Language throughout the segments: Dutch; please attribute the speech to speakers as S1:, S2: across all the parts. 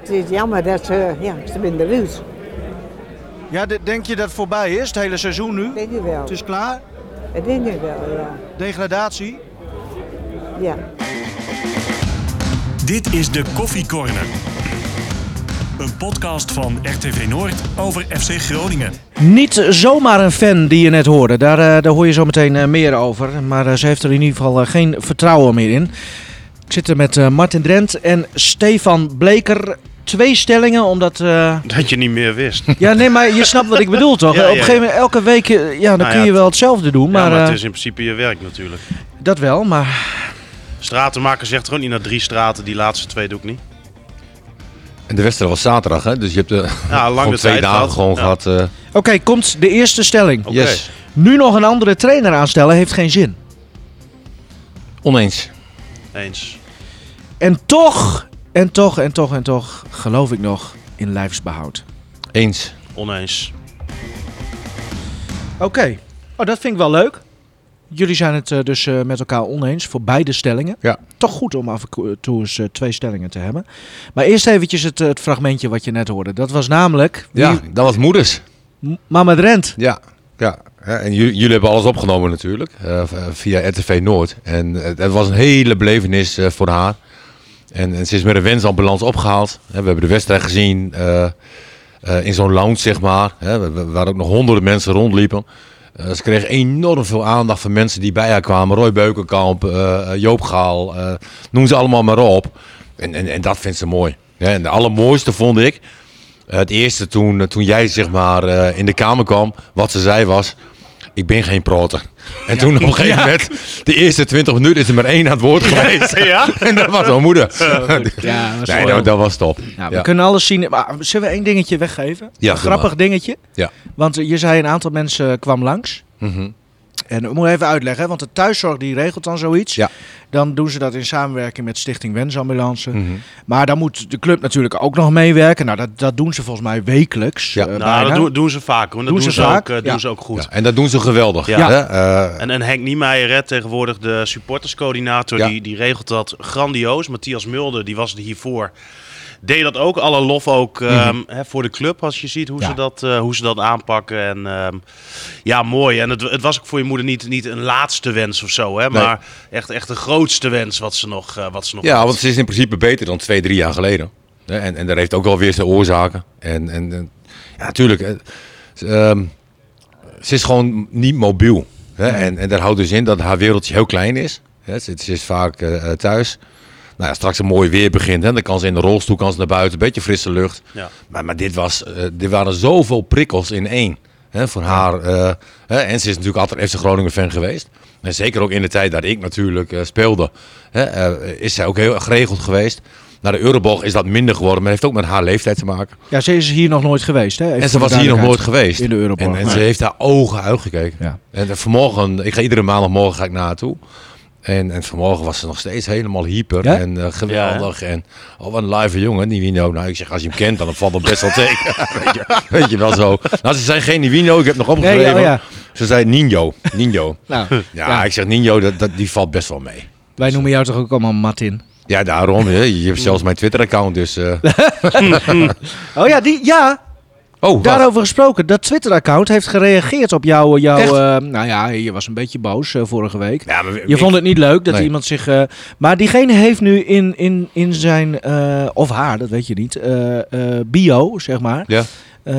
S1: het is jammer dat ze, ja, ze zijn eruit.
S2: Ja, de- denk je dat het voorbij is, het hele seizoen nu?
S1: Denk je wel.
S2: Het
S3: Dus-
S2: is klaar,
S1: Dat denk ik wel, ja.
S2: degradatie.
S1: ja.
S4: Dit is de Koffiecorner. Een podcast van RTV Noord over FC Groningen.
S3: Niet zomaar een fan die je net hoorde. Daar, eh, daar hoor je zo meteen eh, meer over. Maar eh, ze heeft er in ieder geval eh, geen vertrouwen meer in. Ik zit er met eh, Martin Drent en Stefan Bleker. Twee stellingen, omdat... eh,
S5: Dat je niet meer wist.
S3: Ja, nee, maar je snapt wat ik bedoel, toch?
S5: Ja,
S3: Op
S5: ja,
S3: een gegeven moment, elke week, eh, ja, dan
S5: Nou
S3: kun
S5: ja,
S3: je wel hetzelfde doen. Maar,
S5: ja, maar
S3: eh,
S5: het is in principe je werk natuurlijk.
S3: dat wel, maar...
S5: Stratenmaker zegt gewoon niet naar drie straten, die laatste twee doe ik niet.
S6: En de wedstrijd was zaterdag, hè? Dus je hebt de
S5: Ja, lang de
S6: twee
S5: tijd
S6: dagen
S5: gehad.
S6: gewoon
S5: Ja.
S6: gehad. eh,
S3: Oké, komt de eerste stelling.
S2: Oh.
S5: Oké.
S6: Yes.
S3: Nu nog een andere trainer aanstellen heeft geen zin.
S6: Oneens.
S5: Eens.
S3: En toch, en toch, en toch, en toch geloof ik nog in lijfsbehoud.
S6: Eens.
S5: Oneens. Nou,
S3: Oké. Oh, dat vind ik wel leuk. Jullie zijn het eh, dus eh, met elkaar oneens voor beide stellingen.
S6: Ja.
S3: Toch goed om af en toe eens eh, twee stellingen te hebben. Maar eerst eventjes het, eh, het fragmentje wat je net hoorde. Dat was namelijk... wie-
S6: Ja, dat was moeders.
S3: M- Mama Drent.
S6: Ja. ja. Ja, En jullie, jullie hebben alles opgenomen natuurlijk. eh, v- via RTV Noord. En het het was een hele belevenis eh, voor haar. En, en ze is met een wensambulance opgehaald. Hè, we hebben de wedstrijd gezien. eh, eh, in zo'n lounge, zeg maar. Hè, wa- wa- waar ook nog honderden mensen rondliepen. Eh, ze kreeg enorm veel aandacht van mensen die bij haar kwamen. Roy Beukenkamp, eh, Joop Gaal, eh, noem ze allemaal maar op. En, en, en dat vindt ze mooi. Ja, en de allermooiste vond ik, eh, het eerste toen, eh, toen jij zeg maar eh, in de kamer kwam, wat ze zei was, ik ben geen proter. En toen op een gegeven moment, de eerste 20 minuten is er maar één aan het woord geweest.
S5: Ja?
S6: en dat was mijn moeder.
S3: Ja, dat is
S6: nee,
S3: wel-
S6: dat, dat was top.
S3: Nou, we
S6: ja.
S3: kunnen alles zien. Maar zullen we één dingetje weggeven?
S6: Ja,
S3: een
S6: doe maar.
S3: grappig dingetje.
S6: Ja.
S3: Want eh, je zei een aantal mensen kwam langs.
S6: Mhm.
S3: En ik moet even uitleggen, hè, want de thuiszorg die regelt dan zoiets.
S6: Ja.
S3: Dan doen ze dat in samenwerking met Stichting Wensambulance.
S6: Mhm.
S3: Maar dan moet de club natuurlijk ook nog meewerken. Nou, dat, dat doen ze volgens mij wekelijks.
S6: Ja.
S3: eh, bijna.
S5: Nou, dat doen, doen ze vaak hoor. Dat
S3: Doen
S5: doen,
S3: ze
S5: ze,
S3: vaak,
S5: ook, eh,
S3: ja.
S5: doen ze ook goed.
S6: Ja, en dat doen ze geweldig.
S5: Ja.
S6: Hè? Eh,
S5: En, en Henk Niemeyer, hè, tegenwoordig de supporterscoördinator,
S6: Ja.
S5: die, die regelt dat grandioos. Matthias Mulder, die was er hiervoor, deed dat ook. Alle lof ook ehm, hè, voor de club, als je ziet hoe,
S6: Mhm. Ja.
S5: ze, dat, eh, hoe ze dat aanpakken. En, ehm, ja, mooi. En het, het was ook voor je moeder niet, niet een laatste wens of zo, hè,
S6: Nee.
S5: maar echt, echt de grootste wens wat ze nog, eh, wat ze nog
S6: Ja, want ze is in principe beter dan twee, drie jaar geleden. Hè, En, en dat heeft ook wel weer zijn oorzaken. En, en, en- ja, natuurlijk. eh, ze, ehm, ze is gewoon niet mobiel. Hè? En, en dat houdt dus in dat haar wereldje heel klein is. Hè? Ze, ze is vaak eh, eh, thuis. Nou ja, straks een mooi weer begint. Hè? Dan kan ze in de rolstoel, kan ze naar buiten. Een beetje frisse lucht.
S5: Ja.
S6: Maar, maar dit, was, eh, dit waren zoveel prikkels in één. Hè, voor haar. eh, hè, en ze is natuurlijk altijd FC Groningen fan geweest. En zeker ook in de tijd dat ik natuurlijk eh, speelde. Hè, eh, is zij ook heel geregeld geweest. Na de Euroborg is dat minder geworden. Maar heeft ook met haar leeftijd te maken.
S3: Ja, ze is hier nog nooit geweest. Hè? Even
S6: En ze
S3: voor de
S6: was hier nog nooit
S3: duidelijkheid.
S6: geweest.
S3: In de Euroborg.
S6: En, en
S3: Nee.
S6: ze heeft haar ogen uitgekeken.
S3: Ja.
S6: En eh, vanmorgen, ik ga iedere maandagmorgen ga ik naar haar toe. En, en vanmorgen was ze nog steeds helemaal hyper
S3: Ja?
S6: en eh, geweldig. en oh, wat een live jongen, Nivino. Nou, ik zeg, als je hem kent, dan valt het best wel tegen. weet, je, weet je wel zo. Nou, ze zei geen Nivino, ik heb nog opgeschreven.
S3: Nee, oh ja.
S6: Ze zei Nino. Nino.
S3: Nou,
S6: Ja,
S3: Ja.
S6: ik zeg Nino, dat, dat, die valt best wel mee.
S3: wij noemen jou toch ook allemaal Martin?
S6: Ja, daarom. hè. Je hebt zelfs mijn Twitter-account, dus... eh,
S3: Oh ja, die, ja
S6: oh, wat?
S3: daarover gesproken. Dat Twitter-account heeft gereageerd op jouw... jouw
S6: Echt?
S3: eh, nou ja, je was een beetje boos eh, vorige week.
S6: Ja, maar
S3: Je
S6: ik-
S3: vond het niet leuk dat
S6: Nee.
S3: iemand zich. eh, maar diegene heeft nu in, in, in zijn. eh, of haar, dat weet je niet. eh, eh, bio, zeg maar.
S6: Ja.
S3: eh,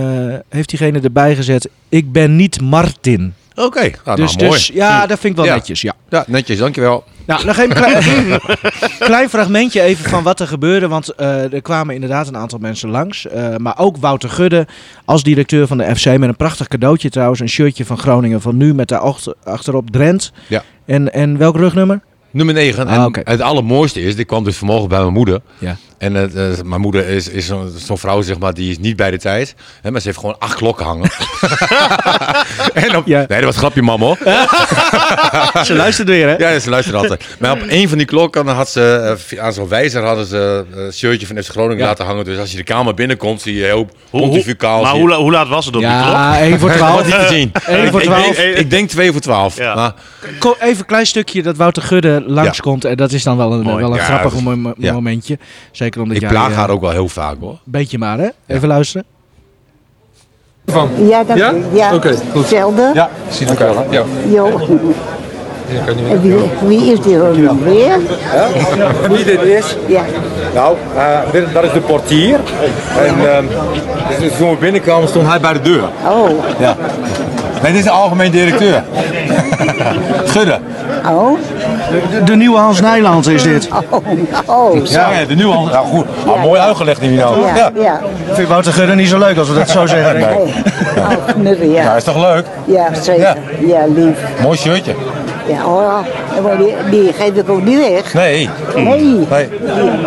S3: heeft diegene erbij gezet. Ik ben niet Martin.
S6: Oké, nou, nou,
S3: dus,
S6: mooi.
S3: dus ja, dat vind ik wel
S6: Ja.
S3: netjes. Ja.
S6: Ja, netjes, dankjewel.
S3: Nou, nog even een klein, klein fragmentje even van wat er gebeurde. Want eh, er kwamen inderdaad een aantal mensen langs. eh, maar ook Wouter Gudde als directeur van de FC. Met een prachtig cadeautje trouwens. Een shirtje van Groningen van nu met daar achter- achterop Drent.
S6: Ja.
S3: En, en welk rugnummer?
S6: Nummer 9.
S3: Ah,
S6: en
S3: oké.
S6: Het allermooiste is, dit kwam dus vanmorgen bij mijn moeder.
S3: Ja.
S6: En het, eh, mijn moeder is, is zo'n zo'n vrouw, zeg maar, die is niet bij de tijd. Hè, maar ze heeft gewoon acht klokken hangen. en op,
S3: Ja.
S6: Nee, dat was een grapje, mam hoor.
S3: Ah, Ze luistert weer, hè?
S6: Ja, ze luistert altijd. Maar op een van die klokken dan had ze, eh, via- aan zo'n wijzer hadden ze eh, een shirtje van FC Groningen
S3: Ja.
S6: laten hangen. Dus als je de kamer binnenkomt, zie je heel
S5: Hoe- hoe-
S6: pontificaal.
S5: maar
S6: zie je-
S5: hoe, la- hoe laat was het op die klok?
S3: Ja, 1 voor
S6: Dat was
S3: 12.
S6: niet te zien.
S3: Eén voor
S6: Ik denk-
S3: 12.
S6: Ik, denk 2 voor 12.
S5: Ja.
S6: Maar
S3: Ko- Even een klein stukje dat Wouter Gudde langskomt. En dat is dan wel een, wel een
S6: Ja,
S3: grappig
S6: dat-
S3: mo- mo-
S6: ja.
S3: momentje. Ze Zeker omdat
S6: Ik
S3: jij,
S6: plaag
S3: eh,
S6: haar ook wel heel vaak hoor.
S3: Een beetje maar, hè? Even luisteren.
S7: Van.
S1: Ja, dat
S7: Ja?
S1: ja.
S7: Oké, goed.
S1: Zelden.
S7: Ja, zien elkaar. Ja.
S1: Jo.
S7: Ja, kan niet meer.
S1: En wie, wie is die dan nog weer?
S8: Wie dit is?
S1: Ja.
S8: Nou, eh, dit- dat is de portier. En ehm, dus toen we binnenkwamen stond hij bij de deur.
S1: Oh.
S8: Ja. Nee, dit is de algemeen directeur. Schudde.
S1: Oh.
S3: De, de nieuwe Hans Nijland is dit.
S1: Oh. Oh.
S8: Ja, ja, de nieuwe. Nou goed, Ah, mooi uitgelegd hier nou. Ja.
S1: Ja. Ja.
S3: Ik vind Wouter Gudde niet zo leuk als we dat zo zeggen.
S1: Hey. Oh, knuddel,
S8: Ja,
S1: ja.
S8: is toch leuk?
S1: Ja, zeker. Ja, lief.
S8: Mooi shirtje.
S1: Ja, hoor. Maar die, die geef ik ook niet weg.
S8: Nee.
S1: Nee.
S8: Nee.
S1: Die-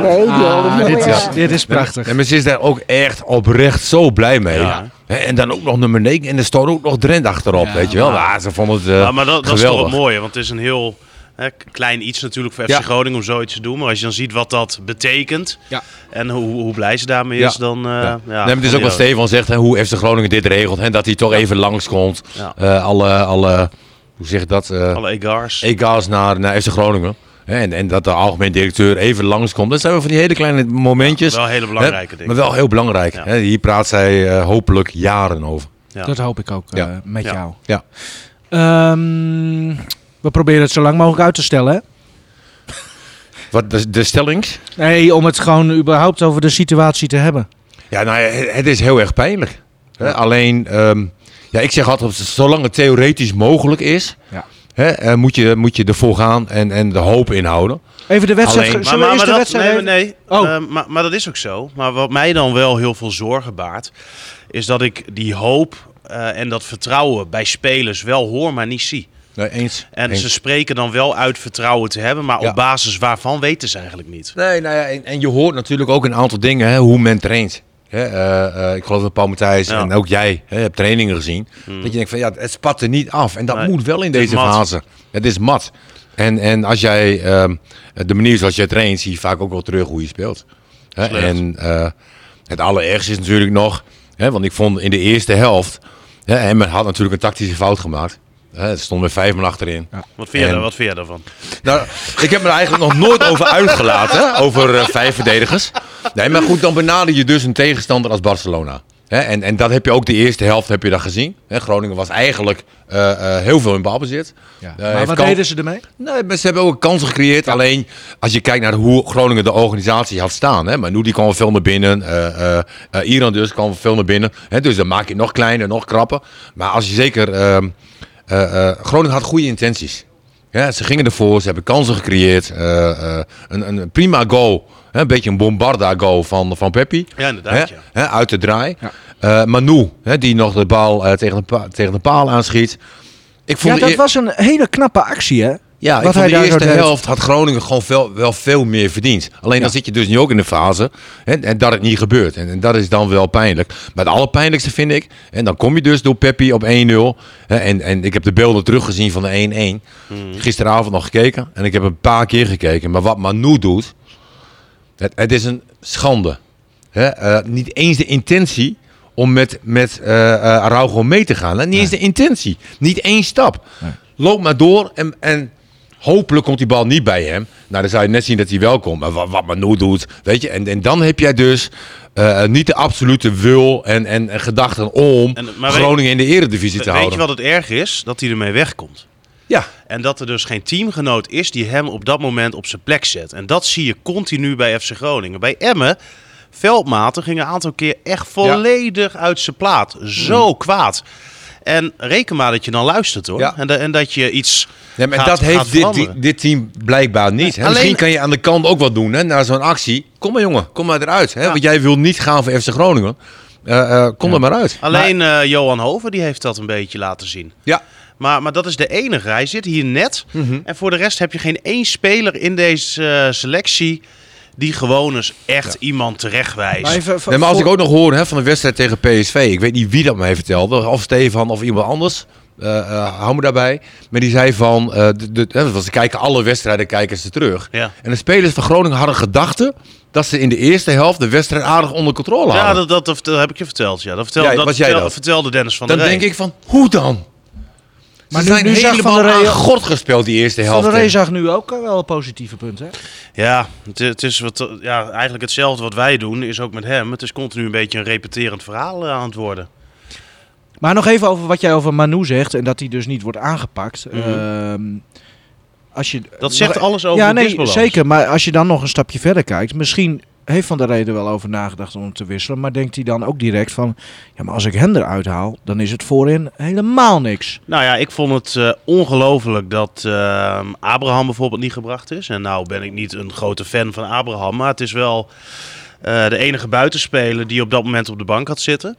S1: Nee, die hoor ik nog
S3: Ah, dit,
S1: wel.
S3: is, dit is prachtig.
S6: En ze is daar ook echt oprecht zo blij mee. Hè, En dan ook nog nummer 9 en er stond ook nog Drent achterop, weet je wel. Ja, ze vond het eh,
S5: Ja, maar dat, dat is toch
S6: geweldig.
S5: wel mooi, want het is een heel hè, k- klein iets natuurlijk voor FC
S6: Ja.
S5: Groningen om zoiets te doen. Maar als je dan ziet wat dat betekent
S3: Ja.
S5: en hoe, hoe blij ze daarmee
S6: Ja.
S5: is, dan... eh, ja.
S6: nee, maar het is ook wat Stefan zegt, hè, hoe FC Groningen dit regelt. En dat hij toch even langskomt.
S5: Ja.
S6: Eh, alle, alle, hoe zeg je dat? eh
S5: Alle egars.
S6: EK's naar, naar FC Groningen. Hè, En, en dat de algemeen directeur even langskomt. Dat zijn wel van die hele kleine momentjes.
S5: Ja, wel hele belangrijke
S6: Hè,
S5: dingen.
S6: Maar wel heel belangrijk.
S5: Ja.
S6: Hè, Hier praat zij eh, hopelijk jaren over.
S5: Ja.
S3: Dat hoop ik ook eh,
S6: Ja.
S3: met
S5: Ja.
S3: jou.
S6: Ja.
S3: Ehm, we proberen het zo lang mogelijk uit te stellen. hè?
S6: Wat, de, de stelling?
S3: Nee, om het gewoon überhaupt over de situatie te hebben.
S6: Ja, nou, ja, het, het is heel erg pijnlijk. Hè, Alleen, ehm, ja, ik zeg altijd, zolang het theoretisch mogelijk is,
S3: Ja.
S6: hè, eh, moet, je, moet je ervoor gaan en, en de hoop inhouden.
S3: Even de wedstrijd.
S6: Alleen-
S3: Zullen we eerst de
S5: dat,
S3: wedstrijd
S5: nee,
S3: even-
S5: nee.
S3: Oh.
S5: Eh, maar, maar dat is ook zo. Maar wat mij dan wel heel veel zorgen baart, is dat ik die hoop eh, en dat vertrouwen bij spelers wel hoor, maar niet zie.
S6: Nee, eens.
S5: En
S6: eens.
S5: ze spreken dan wel uit vertrouwen te hebben, maar
S6: Ja.
S5: op basis waarvan weten ze eigenlijk niet.
S6: Nee, nou ja, en, en je hoort natuurlijk ook een aantal dingen, hè, hoe men traint. Hè, eh, eh, ik geloof dat Paul Matthijs
S5: Ja. Hmm.
S6: en ook jij hè, hebt trainingen gezien. Dat je denkt van ja, het spat er niet af. En dat
S5: Nee,
S6: moet wel in
S5: het is
S6: deze
S5: mat.
S6: fase. Het is mat. En, en als jij ehm, de manier zoals jij traint, zie je vaak ook wel terug hoe je speelt. Hè,
S5: Slecht.
S6: en eh, het allerergste is natuurlijk nog, hè, want ik vond in de eerste helft, hè, en men had natuurlijk een tactische fout gemaakt. Hè, het stond met vijf man achterin.
S5: Wat vind, je,
S6: En-
S5: daar- wat vind je daarvan?
S6: Nou, ik heb me er eigenlijk nog nooit over uitgelaten, over eh, vijf verdedigers. Nee, maar goed, dan benader je dus een tegenstander als Barcelona. Hè, en, en dat heb je ook de eerste helft heb je dat gezien. Hè, Groningen was eigenlijk eh, eh, heel veel in balbezit.
S3: Ja.
S6: Eh,
S3: maar
S6: heeft
S3: wat
S6: kan-
S3: deden ze ermee?
S6: Nee, maar ze hebben ook kansen gecreëerd. Alleen als je kijkt naar hoe Groningen de organisatie had staan. Hè, maar nu die kwam veel naar binnen. eh, eh, eh, Iran dus kwam veel naar binnen. Hè, dus dan maak je het nog kleiner, nog krapper. Maar als je zeker. ehm, eh, eh, Groningen had goede intenties. Ja, ze gingen ervoor, ze hebben kansen gecreëerd. eh, eh, een, een prima goal. Hè, een beetje een bombarda goal van, van Peppi.
S5: Ja, inderdaad,
S6: Hè,
S5: ja.
S6: hè, uit de draai. Eh, Manu, hè, die nog de bal eh, tegen, de pa- tegen de paal aanschiet. Ik
S3: Ja,
S6: vond de
S3: dat
S6: eer-
S3: was een hele knappe actie, hè?
S6: ja,
S3: Wat
S6: ik
S3: hij
S6: vond
S3: daar
S6: de
S3: zo
S6: eerste
S3: deed.
S6: helft had Groningen gewoon veel, wel veel meer verdiend. Alleen dan zit je dus nu ook in de fase hè, en dat het niet gebeurt. En, en dat is dan wel pijnlijk. Maar het allerpijnlijkste vind ik, en dan kom je dus door Peppi op 1-0. hè, en, en ik heb de beelden teruggezien van de
S3: Hmm.
S6: 1-1. Gisteravond nog gekeken en ik heb een paar keer gekeken. Maar wat Manu doet, het, het is een schande. Hè? eh, niet eens de intentie om met, met eh, eh, Araujo mee te gaan. Hè? Niet eens de intentie. Niet één stap. Loop maar door en, en hopelijk komt die bal niet bij hem. Nou, dan zou je net zien dat hij wel komt. Maar wat, wat Manu doet, weet je. En, en dan heb jij dus eh, niet de absolute wil en, en, en gedachten om
S5: En- maar weet-
S6: Groningen in de eredivisie
S5: Weet
S6: te houden.
S5: je wat het erg is? Dat hij ermee wegkomt.
S6: Ja.
S5: En dat er dus geen teamgenoot is die hem op dat moment op zijn plek zet. En dat zie je continu bij FC Groningen. Bij Emmen, Veldmaten ging een aantal keer echt volledig uit zijn plaat. Zo kwaad. En reken maar dat je dan luistert hoor.
S6: Mm. Ja.
S5: En, da- en dat je iets
S6: Ja, maar
S5: gaat,
S6: dat heeft
S5: gaat
S6: dit,
S5: veranderen.
S6: dit, dit team blijkbaar niet. hè.
S5: Alleen-
S6: Misschien kan je aan de kant ook wat doen hè, na zo'n actie. Kom maar jongen, kom maar eruit. Hè, Want jij wil niet gaan voor FC Groningen. Eh, eh, kom er maar uit.
S5: Alleen eh, Johan Hoven die heeft dat een beetje laten zien.
S6: Ja.
S5: Maar, maar dat is de enige. Hij zit hier net. En voor de rest heb je geen één speler in deze eh, selectie die gewoon eens echt iemand terechtwijst.
S6: Nee, maar als ik ook nog hoor hè, van de wedstrijd tegen PSV. Ik weet niet wie dat mij vertelde. Of Stefan of iemand anders. Eh, eh, hou me daarbij. Maar die zei van... eh, de, de, hè, want ze kijken alle wedstrijden kijken ze terug.
S5: Ja.
S6: En de spelers van Groningen hadden gedachten... dat ze in de eerste helft de wedstrijd aardig onder controle hadden.
S5: Ja, dat, dat, dat, dat heb ik je verteld. Ja, dat vertelde,
S6: Ja,
S5: dat
S6: was jij
S5: vertel-
S6: dat?
S5: vertelde Dennis van
S6: dan
S5: der Rey.
S6: denk ik van, hoe dan?
S3: Maar
S6: Maar
S3: nu-
S6: zijn
S3: nu zag
S6: helemaal
S3: Van der Rey-
S6: aan God gespeeld die eerste
S3: Van
S6: helft.
S3: der Rey zag nu ook eh, wel positieve punten. hè?
S5: Ja, het, het is wat, ja, eigenlijk hetzelfde wat wij doen, is ook met hem. Het is continu een beetje een repeterend verhaal eh, aan het worden.
S3: Maar nog even over wat jij over Manu zegt en dat hij dus niet wordt aangepakt.
S6: Mhm.
S3: Ehm, als je,
S5: Dat zegt
S3: nog-
S5: alles over
S3: Ja,
S5: de
S3: nee,
S5: disbalans.
S3: zeker. Maar als je dan nog een stapje verder kijkt, misschien heeft Van der Rey er wel over nagedacht om hem te wisselen. Maar denkt hij dan ook direct van, ja, maar als ik hem eruit haal, dan is het voorin helemaal niks.
S5: Nou ja, ik vond het eh, ongelooflijk dat eh, Abraham bijvoorbeeld niet gebracht is. En nou ben ik niet een grote fan van Abraham, maar het is wel eh, de enige buitenspeler die op dat moment op de bank had zitten.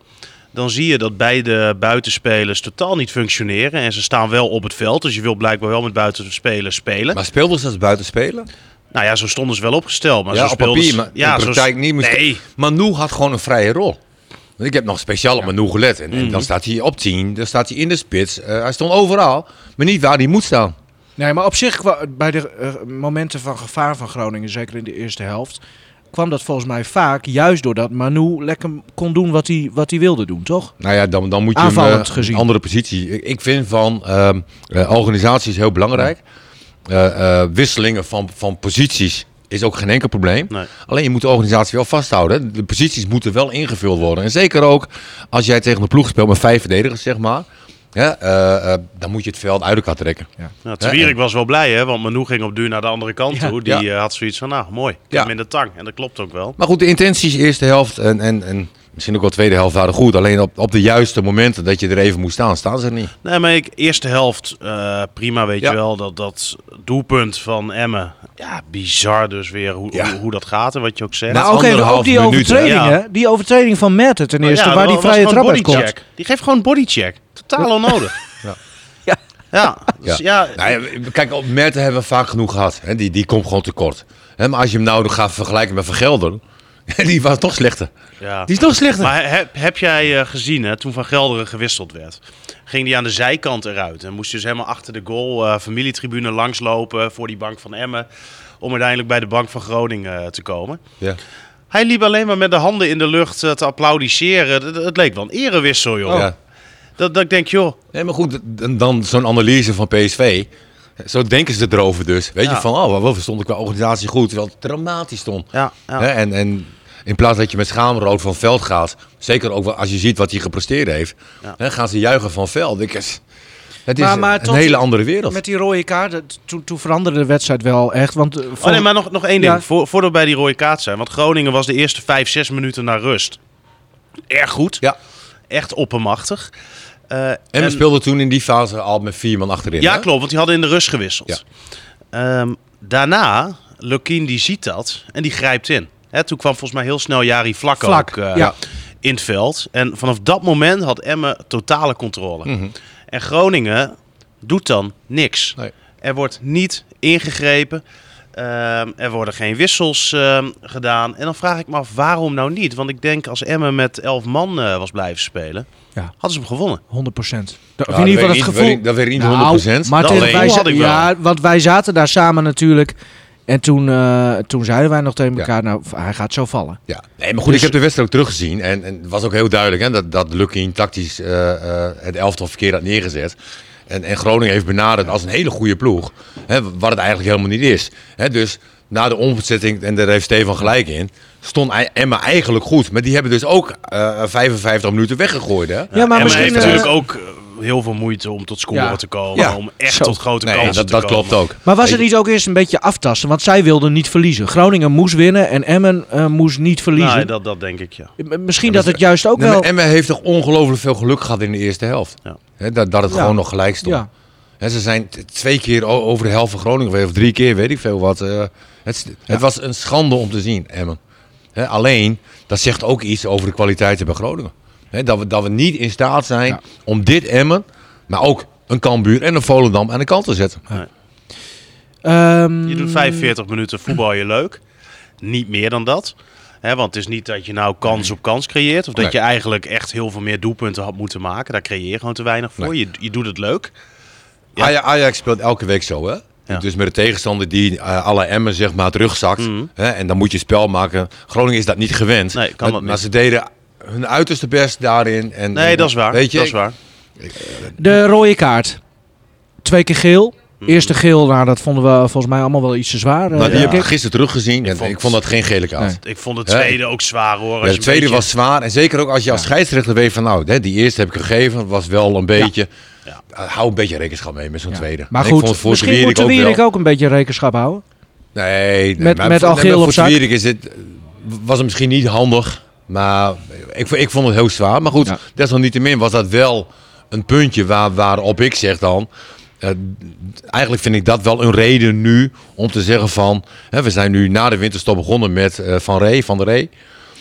S5: Dan zie je dat beide buitenspelers totaal niet functioneren. En ze staan wel op het veld, dus je wil blijkbaar wel met buitenspelers spelen.
S6: Maar speelden ze als buitenspelen?
S5: nou ja, zo stonden ze wel opgesteld. Maar
S6: ja,
S5: zo
S6: op
S5: speelden
S6: papier,
S5: ze-
S6: maar
S5: ja,
S6: in
S5: zo-
S6: praktijk niet. Moest
S5: Nee,
S6: Manu had gewoon een vrije rol. Want ik heb nog speciaal op Manu gelet. En, en
S5: Mhm.
S6: dan staat hij op 10, dan staat hij in de spits. Eh, hij stond overal, maar niet waar hij moet staan.
S3: Nee, maar op zich, kwa- bij de eh, momenten van gevaar van Groningen, zeker in de eerste helft, kwam dat volgens mij vaak juist doordat Manu lekker kon doen wat hij, wat hij wilde doen, toch?
S6: Nou ja, dan, dan moet je een
S3: Aanvallend gezien.
S6: andere positie. Ik, ik vind van ehm eh, organisatie is heel belangrijk. Eh, eh, wisselingen van, van posities is ook geen enkel probleem.
S5: Nee.
S6: Alleen je moet de organisatie wel vasthouden. De posities moeten wel ingevuld worden. En zeker ook als jij tegen een ploeg speelt met vijf verdedigers, zeg maar. Ja, eh, eh, dan moet je het veld uit elkaar trekken.
S5: nou, Tewierik was wel blij, hè? Want Manu ging op duur naar de andere kant toe. Die
S6: Ja.
S5: eh, had zoiets van, nou, mooi. Ik heb
S6: Ja.
S5: hem in de tang. En dat klopt ook wel.
S6: Maar goed, de intenties eerste helft en, en, en misschien ook wel tweede helft waren goed. Alleen op, op de juiste momenten dat je er even moest staan, staan ze er niet.
S5: Nee, maar ik, eerste helft, eh, prima weet
S6: Ja.
S5: je wel. Dat, dat doelpunt van Emmen, ja, bizar dus weer hoe,
S6: Ja.
S5: hoe, hoe dat gaat en wat je ook zegt.
S6: Nou,
S3: Maar ook even, ook
S6: anderhalf
S3: die
S6: minuut,
S3: overtreding,
S5: hè?
S3: hè? Die overtreding van Merten ten eerste,
S5: Ja,
S3: waar
S5: dat
S3: die
S5: was
S3: vrije
S5: gewoon
S3: trap uit komt.
S5: bodycheck. Die geeft gewoon bodycheck. Totaal onnodig.
S6: Ja.
S3: Ja.
S5: Ja, dus ja.
S6: Nou ja, kijk, op Merten hebben we vaak genoeg gehad. Hè? Die, die komt gewoon tekort. Hè? Maar als je hem nou gaat vergelijken met Van Gelder, die was nog slechter.
S5: ja.
S6: Die is nog slechter.
S5: Maar heb, heb jij eh, gezien, hè, toen Van Gelderen gewisseld werd, ging die aan de zijkant eruit. En moest dus helemaal achter de goal, eh, familietribune langslopen voor die bank van Emmen. Om uiteindelijk bij de bank van Groningen eh, te komen.
S6: Ja.
S5: Hij liep alleen maar met de handen in de lucht eh, te applaudisseren. Het- Het leek wel een erewissel, joh.
S6: Ja.
S5: Dat, dat ik denk, joh,
S6: Nee, maar goed, dan, dan zo'n analyse van PSV. Zo denken ze erover dus. Weet
S5: Ja.
S6: je, van oh, we stonden qua organisatie goed. Terwijl het dramatisch stond.
S5: Ja, ja.
S6: Hè, En, en in plaats dat je met schaamrood van het veld gaat. Zeker ook wel als je ziet wat hij gepresteerd heeft.
S5: Ja.
S6: Hè, gaan ze juichen van het veld. Ik, het het is
S3: Maar- maar
S6: een
S3: tot-
S6: hele andere wereld.
S3: Met die rode kaart, dat- toen, toen veranderde de wedstrijd wel echt. Want eh,
S5: Oh,
S3: vol-
S5: nee, maar nog, nog één ding.
S3: Ja.
S5: Voor, voordat we bij die rode kaart zijn. Want Groningen was de eerste 5, 6 minuten naar rust. Erg goed.
S6: Ja.
S5: Echt oppermachtig. Eh,
S6: En we speelden toen in die fase al met vier man achterin.
S5: Ja,
S6: hè?
S5: klopt. Want die hadden in de rust gewisseld. Ehm, daarna, Lukin die ziet dat en die grijpt in. Hè, toen kwam volgens mij heel snel Jari Vlak,
S3: Vlak,
S5: ook eh,
S3: ja.
S5: in het veld. En vanaf dat moment had Emmen totale controle.
S6: Mhm.
S5: En Groningen doet dan niks.
S6: Nee.
S5: Er wordt niet ingegrepen. Ehm, er worden geen wissels ehm, gedaan. En dan vraag ik me af, waarom nou niet? Want ik denk als Emmen met elf man eh, was blijven spelen,
S3: Ja.
S5: hadden ze hem gewonnen.
S3: 100%. Dat,
S6: Ja, dat Nou, weet ik niet, weet ik- dat weet ik niet 100%.
S3: Nou, Maar
S5: Dat
S3: tegen-
S5: alleen.
S3: wij,
S5: had
S3: za-
S5: ik wel.
S3: ja, want wij zaten daar samen natuurlijk. En toen, eh, toen zeiden wij nog tegen
S6: Ja.
S3: elkaar, nou, hij gaat zo vallen.
S6: Ja, nee, maar goed,
S5: Dus-
S6: ik heb de wedstrijd ook teruggezien. En, en het was ook heel duidelijk hè, dat, dat Lucky tactisch eh, eh, het elftal verkeerd had neergezet. En, en Groningen heeft benaderd als een hele goede ploeg. Hè, wat het eigenlijk helemaal niet is. Hè, dus na de omzetting, en daar heeft Stefan gelijk in, stond I- Emma eigenlijk goed. Maar die hebben dus ook eh, 55 minuten weggegooid. Hè?
S3: Ja, maar
S5: en
S3: misschien,
S5: heeft
S3: eh,
S5: natuurlijk ook eh, heel veel moeite om tot scoren
S3: Ja.
S5: te komen.
S6: Ja.
S5: Om echt
S3: Zo.
S5: tot grote
S6: Nee,
S5: kansen
S6: dat,
S5: te
S6: dat
S5: komen.
S6: klopt ook.
S3: Maar was
S6: Weet
S3: het
S6: je-
S3: niet ook eerst een beetje aftasten? Want zij wilden niet verliezen. Groningen moest winnen en Emmen eh, moest niet verliezen.
S5: Nee, dat, dat denk ik, ja.
S3: M- Misschien dat het juist ook
S6: Nee, maar
S3: wel...
S6: Emma heeft toch ongelooflijk veel geluk gehad in de eerste helft.
S5: Ja.
S6: Hè, dat, dat het
S3: Ja.
S6: gewoon nog gelijk stond.
S3: Ja.
S6: Hè, ze zijn t- twee keer o- over de helft van Groningen geweest, of drie keer, weet ik veel wat. Eh, het, s- het was een schande om te zien, Emmen. Hè, alleen, dat zegt ook iets over de kwaliteiten bij Groningen. Hè, dat, we, dat we niet in staat zijn om dit Emmen, maar ook een Cambuur en een Volendam aan de kant te zetten.
S3: Ehm,
S5: Je doet
S6: Mm.
S5: 45 minuten voetbal je leuk. Niet meer dan dat. Hè, want het is niet dat je nou kans op kans creëert. Of dat
S6: Nee.
S5: je eigenlijk echt heel veel meer doelpunten had moeten maken. Daar creëer je gewoon te weinig voor.
S6: Nee.
S5: Je, je doet het leuk. Ja.
S6: Aja- Ajax speelt elke week zo, hè?
S5: Ja.
S6: Dus met de tegenstander die eh, alle emmen zeg maar terugzakt. Hè? En dan moet je spel maken. Groningen is dat niet gewend.
S5: Mhm. Nee, kan
S6: maar,
S5: dat niet.
S6: maar ze deden hun uiterste best daarin. En,
S5: Nee, dat is waar.
S6: Weet je,
S5: dat is waar.
S3: de rode kaart. twee keer geel. Eerste geel, nou, dat vonden we volgens mij allemaal wel iets te zwaar. eh,
S6: Nou, die
S3: denk
S6: heb ik
S3: ik.
S6: gisteren teruggezien. Ja,
S5: vond-
S6: ik vond dat geen gele kaart.
S3: Nee.
S5: Ik vond de
S6: Ja,
S5: tweede ook zwaar hoor. Als
S6: Ja,
S5: je
S6: de
S5: een
S6: tweede
S5: beetje-
S6: was zwaar. En zeker ook als je als scheidsrechter weet van nou, hè, die eerste heb ik gegeven. Was wel een beetje. eh, hou een beetje rekenschap mee met zo'n tweede.
S3: Maar
S6: En
S3: goed,
S6: ik vond voor
S3: misschien
S6: Wierik
S3: moet de Wierik
S6: wel-
S3: ook een beetje rekenschap houden.
S6: Nee, nee,
S3: met-
S6: maar
S3: met
S6: voor-
S3: al
S6: nee, maar
S3: geel op
S6: voor
S3: zak.
S6: Wierik is het, was het misschien niet handig. Maar ik, ik vond het heel zwaar. Maar goed,
S3: Ja.
S6: desalniettemin was dat wel een puntje waar, waarop ik zeg dan. eh, eigenlijk vind ik dat wel een reden nu om te zeggen van... Hè, we zijn nu na de winterstop begonnen met eh, Van Rey, Van der Rey.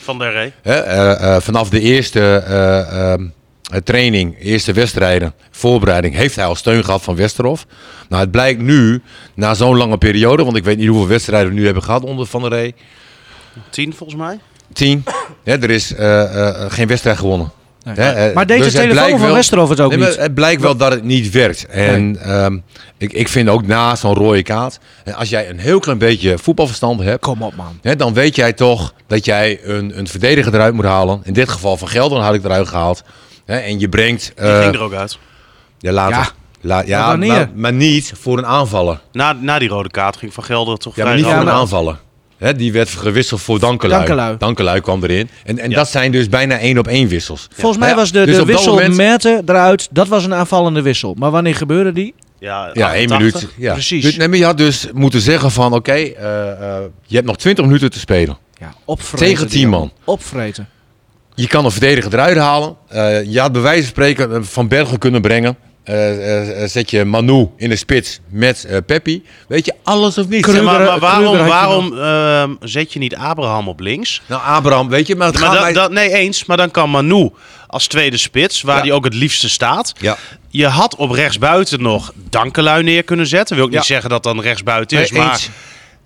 S5: Van der Rey.
S6: Hè, eh, eh, vanaf de eerste eh, ehm, eh, training, eerste wedstrijden, voorbereiding, heeft hij al steun gehad van Westerhof. Nou, het blijkt nu, na zo'n lange periode, want ik weet niet hoeveel wedstrijden we nu hebben gehad onder Van der Rey.
S5: Tien volgens mij.
S6: Tien. Hè, er is eh, eh, eh, geen wedstrijd gewonnen. Hè, eh,
S3: Maar deed de
S6: het
S3: telefoon
S6: blijkt
S3: van
S6: wel-
S3: Westerhof het ook
S6: Nee, maar
S3: niet?
S6: Het blijkt wel dat het niet werkt. En ehm, ik, ik vind ook na zo'n rode kaart, en als jij een heel klein beetje voetbalverstand hebt,
S3: Kom op, man.
S6: Hè, dan weet jij toch dat jij een, een verdediger eruit moet halen. In dit geval van Gelder had ik eruit gehaald. Hè, en je brengt...
S5: Die
S6: eh,
S5: ging er ook uit.
S6: ja, later.
S3: Ja.
S6: La- ja,
S3: Maar wanneer?
S6: maar, maar niet voor een aanvaller.
S5: Na, na die rode kaart ging Van Gelder toch
S6: Ja, maar
S5: vrij
S6: niet voor
S5: rauw.
S6: een aanvaller. Hè, die werd gewisseld voor Dankelui.
S3: Dankelui.
S6: kwam erin. En, en
S5: Ja.
S6: dat zijn dus bijna één op één wissels.
S3: Volgens mij
S6: Ja,
S3: was de,
S6: dus
S3: de
S6: op dat
S3: wissel
S6: moment-
S3: Merten eruit, dat was een aanvallende wissel. Maar wanneer gebeurde die?
S5: Ja,
S6: Ja, één
S5: 88.
S6: minuut. Ja.
S3: Precies.
S6: Dus, nee, maar je had dus moeten zeggen van... Oké, eh, eh, je hebt nog 20 minuten te spelen.
S3: Ja, opvreten.
S6: Tegen
S3: die
S6: tien
S3: jongen.
S6: man.
S3: Opvreten.
S6: Je kan een verdediger eruit halen. Eh, je had bij wijze van spreken eh, Van Bergen kunnen brengen. Eh, eh, eh, zet je Manu in de spits met eh Peppi. Weet je, alles of niets. eh,
S5: Ja, maar,
S3: Kruger-
S5: maar waarom,
S3: Kruger had je
S5: waarom ehm, zet je niet Abraham op links?
S6: Nou, Abraham, weet je, maar het
S5: Maar
S6: gaat
S5: dan-
S6: mij-
S5: dan- nee, eens. Maar dan kan Manu als tweede spits, waar
S6: Ja.
S5: hij ook het liefste staat.
S6: Ja.
S5: Je had op rechtsbuiten nog Dankelui neer kunnen zetten. Wil ik niet
S6: Ja.
S5: zeggen dat dan rechtsbuiten is,
S6: Nee,
S5: maar
S6: eens.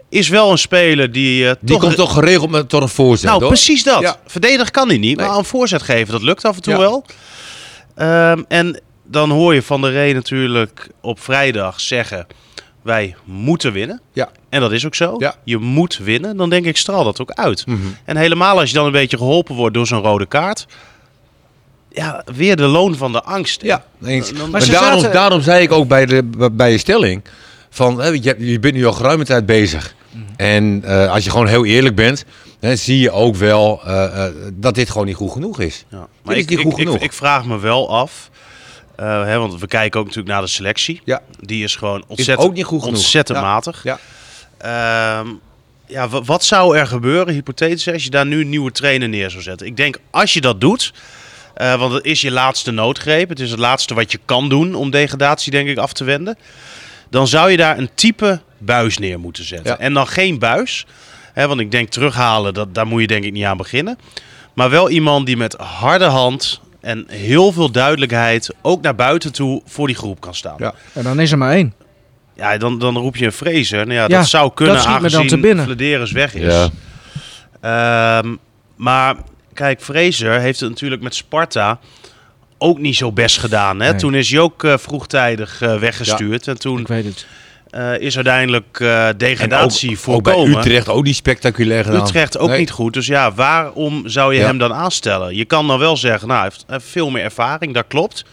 S5: is wel een speler die eh,
S6: Die komt toch geregeld met, tot een voorzet,
S5: Nou,
S6: hoor.
S5: precies dat.
S6: Ja.
S5: Verdedig kan hij niet, maar
S6: Nee.
S5: een voorzet geven, dat lukt af en toe
S6: Ja.
S5: wel. Ehm, en dan hoor je Van der Rey natuurlijk op vrijdag zeggen, wij moeten winnen.
S6: Ja.
S5: En dat is ook zo.
S6: Ja. Mhm.
S5: Je moet winnen. Dan denk ik, straal dat ook uit. En helemaal als je dan een beetje geholpen wordt door zo'n rode kaart. Ja, weer de loon van de angst. hè.
S6: Ja, eens.
S5: Dan-
S6: Maar
S3: ze
S6: daarom,
S3: zaten-
S6: daarom zei ik ook bij, de, bij je stelling: van hè, je, je bent nu al geruime tijd bezig. En eh, als je gewoon heel eerlijk bent, hè, zie je ook wel eh, eh, dat dit gewoon niet goed genoeg is.
S5: Ja,
S6: Dit is niet goed genoeg.
S5: Ik, ik vraag me wel af. eh, hè, want we kijken ook natuurlijk naar de selectie.
S6: Ja.
S5: Die is gewoon
S6: Is
S5: ontzettend,
S6: ook niet goed genoeg.
S5: ontzettend
S6: Ja.
S5: matig.
S6: Ja.
S5: Ehm, ja, wa- wat zou er gebeuren, hypothetisch, als je daar nu een nieuwe trainer neer zou zetten? Ik denk, als je dat doet, eh, want het is je laatste noodgreep. Het is het laatste wat je kan doen om degradatie, denk ik, af te wenden. Dan zou je daar een type buis neer moeten zetten.
S6: Ja.
S5: En dan geen buis, hè, want ik denk terughalen, dat, daar moet je denk ik niet aan beginnen. Maar wel iemand die met harde hand en heel veel duidelijkheid ook naar buiten toe voor die groep kan staan.
S6: Ja.
S3: En dan is er maar één.
S5: Ja, dan, dan roep je een Fraser. Nou ja,
S3: Ja,
S5: dat zou kunnen
S3: dat schiet me dan
S5: aangezien
S3: te binnen.
S5: Flederis weg is.
S6: Ja.
S5: Ehm, maar kijk, Fraser heeft het natuurlijk met Sparta ook niet zo best gedaan. Hè?
S3: Nee.
S5: Toen is hij ook eh, vroegtijdig eh, weggestuurd. En toen
S3: Ik weet het.
S5: eh, is uiteindelijk eh,
S6: En ook,
S5: degradatie
S6: ook
S5: voorkomen.
S6: bij Utrecht ook niet spectaculair gedaan.
S5: Utrecht ook
S6: Nee.
S5: niet goed. Dus ja, waarom zou je
S6: Ja.
S5: hem dan aanstellen? Je kan dan wel zeggen, nou, hij heeft- hij heeft veel meer ervaring, dat klopt.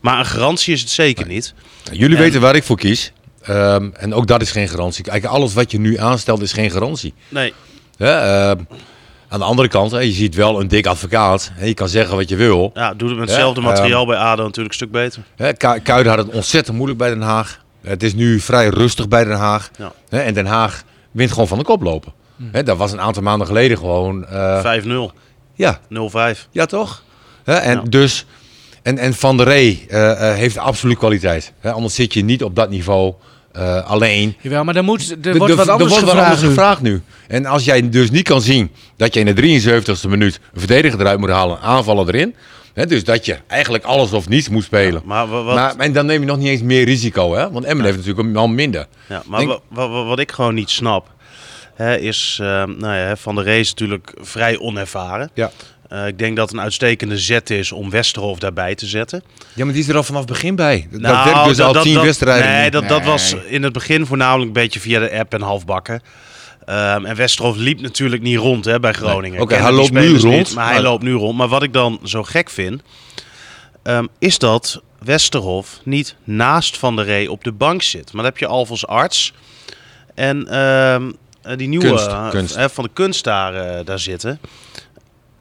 S5: Maar een garantie is het zeker niet.
S6: Jullie
S5: En-
S6: weten waar ik voor kies. Ehm, en ook dat is geen garantie. Kijk, alles wat je nu aanstelt is geen garantie.
S5: Nee,
S6: Hè, ehm, aan de andere kant, hè, je ziet wel een dik advocaat. Hè, je kan zeggen wat je wil.
S5: ja, doe het met
S6: Ja,
S5: hetzelfde
S6: ehm,
S5: materiaal bij ADO natuurlijk een stuk beter.
S6: Hè, Ku- Kuijden had het ontzettend moeilijk bij Den Haag. Het is nu vrij rustig bij Den Haag.
S5: Ja. Hm.
S6: Hè, En Den Haag wint gewoon van de koplopen. Hè, dat was een aantal maanden geleden gewoon. eh,
S5: 5-0,
S6: ja,
S5: 0-5.
S6: ja, toch? Hè, en
S5: Ja.
S6: dus. En, en Van der Rey eh, eh, heeft absoluut kwaliteit. Hè, anders zit je niet op dat niveau eh, alleen.
S3: Jawel, maar dan moet, er
S6: Er-
S3: wordt
S6: er-
S3: wat
S6: er
S3: anders
S6: wordt
S3: gevraagd.
S6: anders gevraagd nu. En als jij dus niet kan zien dat je in de 73ste minuut een verdediger eruit moet halen, een aanvaller erin. Hè, dus dat je eigenlijk alles of niets moet spelen.
S5: Maar, wa- wat,
S6: Maar, en dan neem je nog niet eens meer risico, hè? Want Emmen heeft natuurlijk een man minder.
S5: ja, maar
S6: denk-
S5: wa- wa- wa- wat ik gewoon niet snap, hè, is ehm, nou ja, Van der Rey is natuurlijk vrij onervaren.
S6: Ja.
S5: Eh, ik denk dat het een uitstekende zet is om Westerhof daarbij te zetten.
S6: ja, maar die is er al vanaf het begin bij. Dat
S5: Nou,
S6: werkt dus
S5: dat-
S6: al
S5: dat-
S6: tien
S5: dat-
S6: wedstrijden.
S5: Nee, dat, dat
S6: Nee.
S5: was in het begin voornamelijk een beetje via de app en halfbakken. Ehm, en Westerhof liep natuurlijk niet rond hè, bij Groningen.
S6: Nee. Oké,
S5: Kennen
S6: hij
S5: die
S6: loopt nu
S5: spelers
S6: rond,
S5: niet, maar hij
S6: maar-
S5: loopt nu rond. Maar wat ik dan zo gek vind, ehm, is dat Westerhof niet naast Van der Ree op de bank zit. Maar dat heb je Alvos Arts en ehm, eh, die nieuwe
S6: Kunst,
S5: eh,
S6: kunst.
S5: eh, van de kunst daar, eh, daar zitten.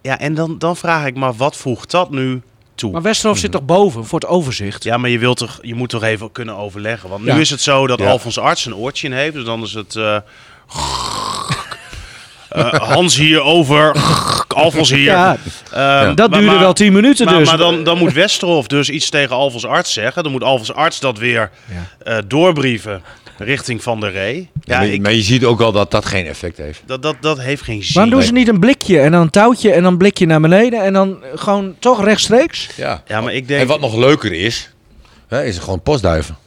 S5: Ja, en dan, dan vraag ik maar wat voegt dat nu toe?
S3: Maar Westerhof zit toch boven voor het overzicht?
S5: Ja, maar je, wilt toch, je moet toch even kunnen overleggen. Want nu
S3: Ja.
S5: is het zo dat
S6: Ja.
S5: Alfons Arts een oortje in heeft. Dus dan is het... eh, eh, Hans hier over, Alfons hier.
S3: Ja.
S5: Ehm,
S3: Dat
S5: maar-
S3: duurde
S5: maar-
S3: wel 10 minuten
S5: maar,
S3: dus.
S5: maar dan, dan moet Westerhof dus iets tegen Alfons Arts zeggen. Dan moet Alfons Arts dat weer eh, doorbrieven richting Van der Ree. Ja,
S6: maar,
S5: ik,
S6: maar je ziet ook al dat dat geen effect heeft.
S5: dat, dat, dat heeft geen zin.
S3: Waarom doen ze niet een blikje en dan een touwtje en dan een blikje naar beneden en dan gewoon toch rechtstreeks?
S6: Ja.
S5: Ja, maar ik denk...
S6: En wat nog leuker is, hè, is gewoon postduiven.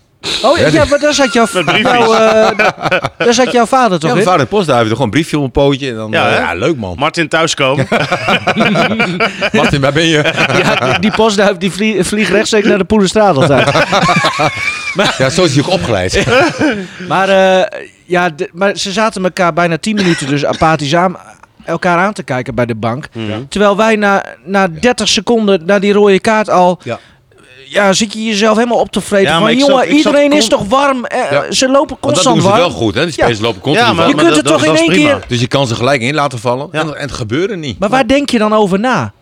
S3: Oh ja, ja, maar daar zat jouw,
S5: briefjes.
S3: jouw, eh, daar zat jouw vader toch
S6: Ja,
S3: in?
S6: mijn vader postduiven, gewoon een briefje op een pootje. En dan, eh,
S5: Ja,
S6: ja,
S5: hè?
S6: ja leuk
S3: eh,
S6: man.
S5: Martin thuiskomen.
S6: Martin, waar ben je?
S3: Ja, die postduif die vlie- vliegt rechtstreeks naar de Poelenstraat altijd.
S6: Ja, zo is hij ook opgeleid.
S3: Maar, eh, ja, de- maar ze zaten elkaar bijna 10 minuten dus apathisch aan elkaar aan te kijken bij de bank.
S6: Mhm.
S3: Terwijl wij na, na 30 seconden na die rode kaart al...
S6: Ja.
S3: Ja, zit je jezelf helemaal op te vreten
S5: Ja, maar
S3: van...
S5: ik snap-
S3: Jongen,
S5: ik snap
S3: iedereen is
S5: con-
S3: toch warm? Eh,
S6: Ja.
S3: Ze lopen
S6: Want dat
S3: constant
S6: doen ze
S3: warm.
S6: wel goed, hè? Die spelers
S3: Ja.
S6: lopen continu
S3: maar-
S6: van.
S3: Je kunt
S5: dat-
S3: het
S5: dat-
S3: toch
S5: dat
S3: in één
S5: is prima.
S3: keer-
S6: Dus je kan ze gelijk in laten vallen.
S5: Ja.
S6: En, en het gebeurde niet.
S3: Maar waar denk je dan over na?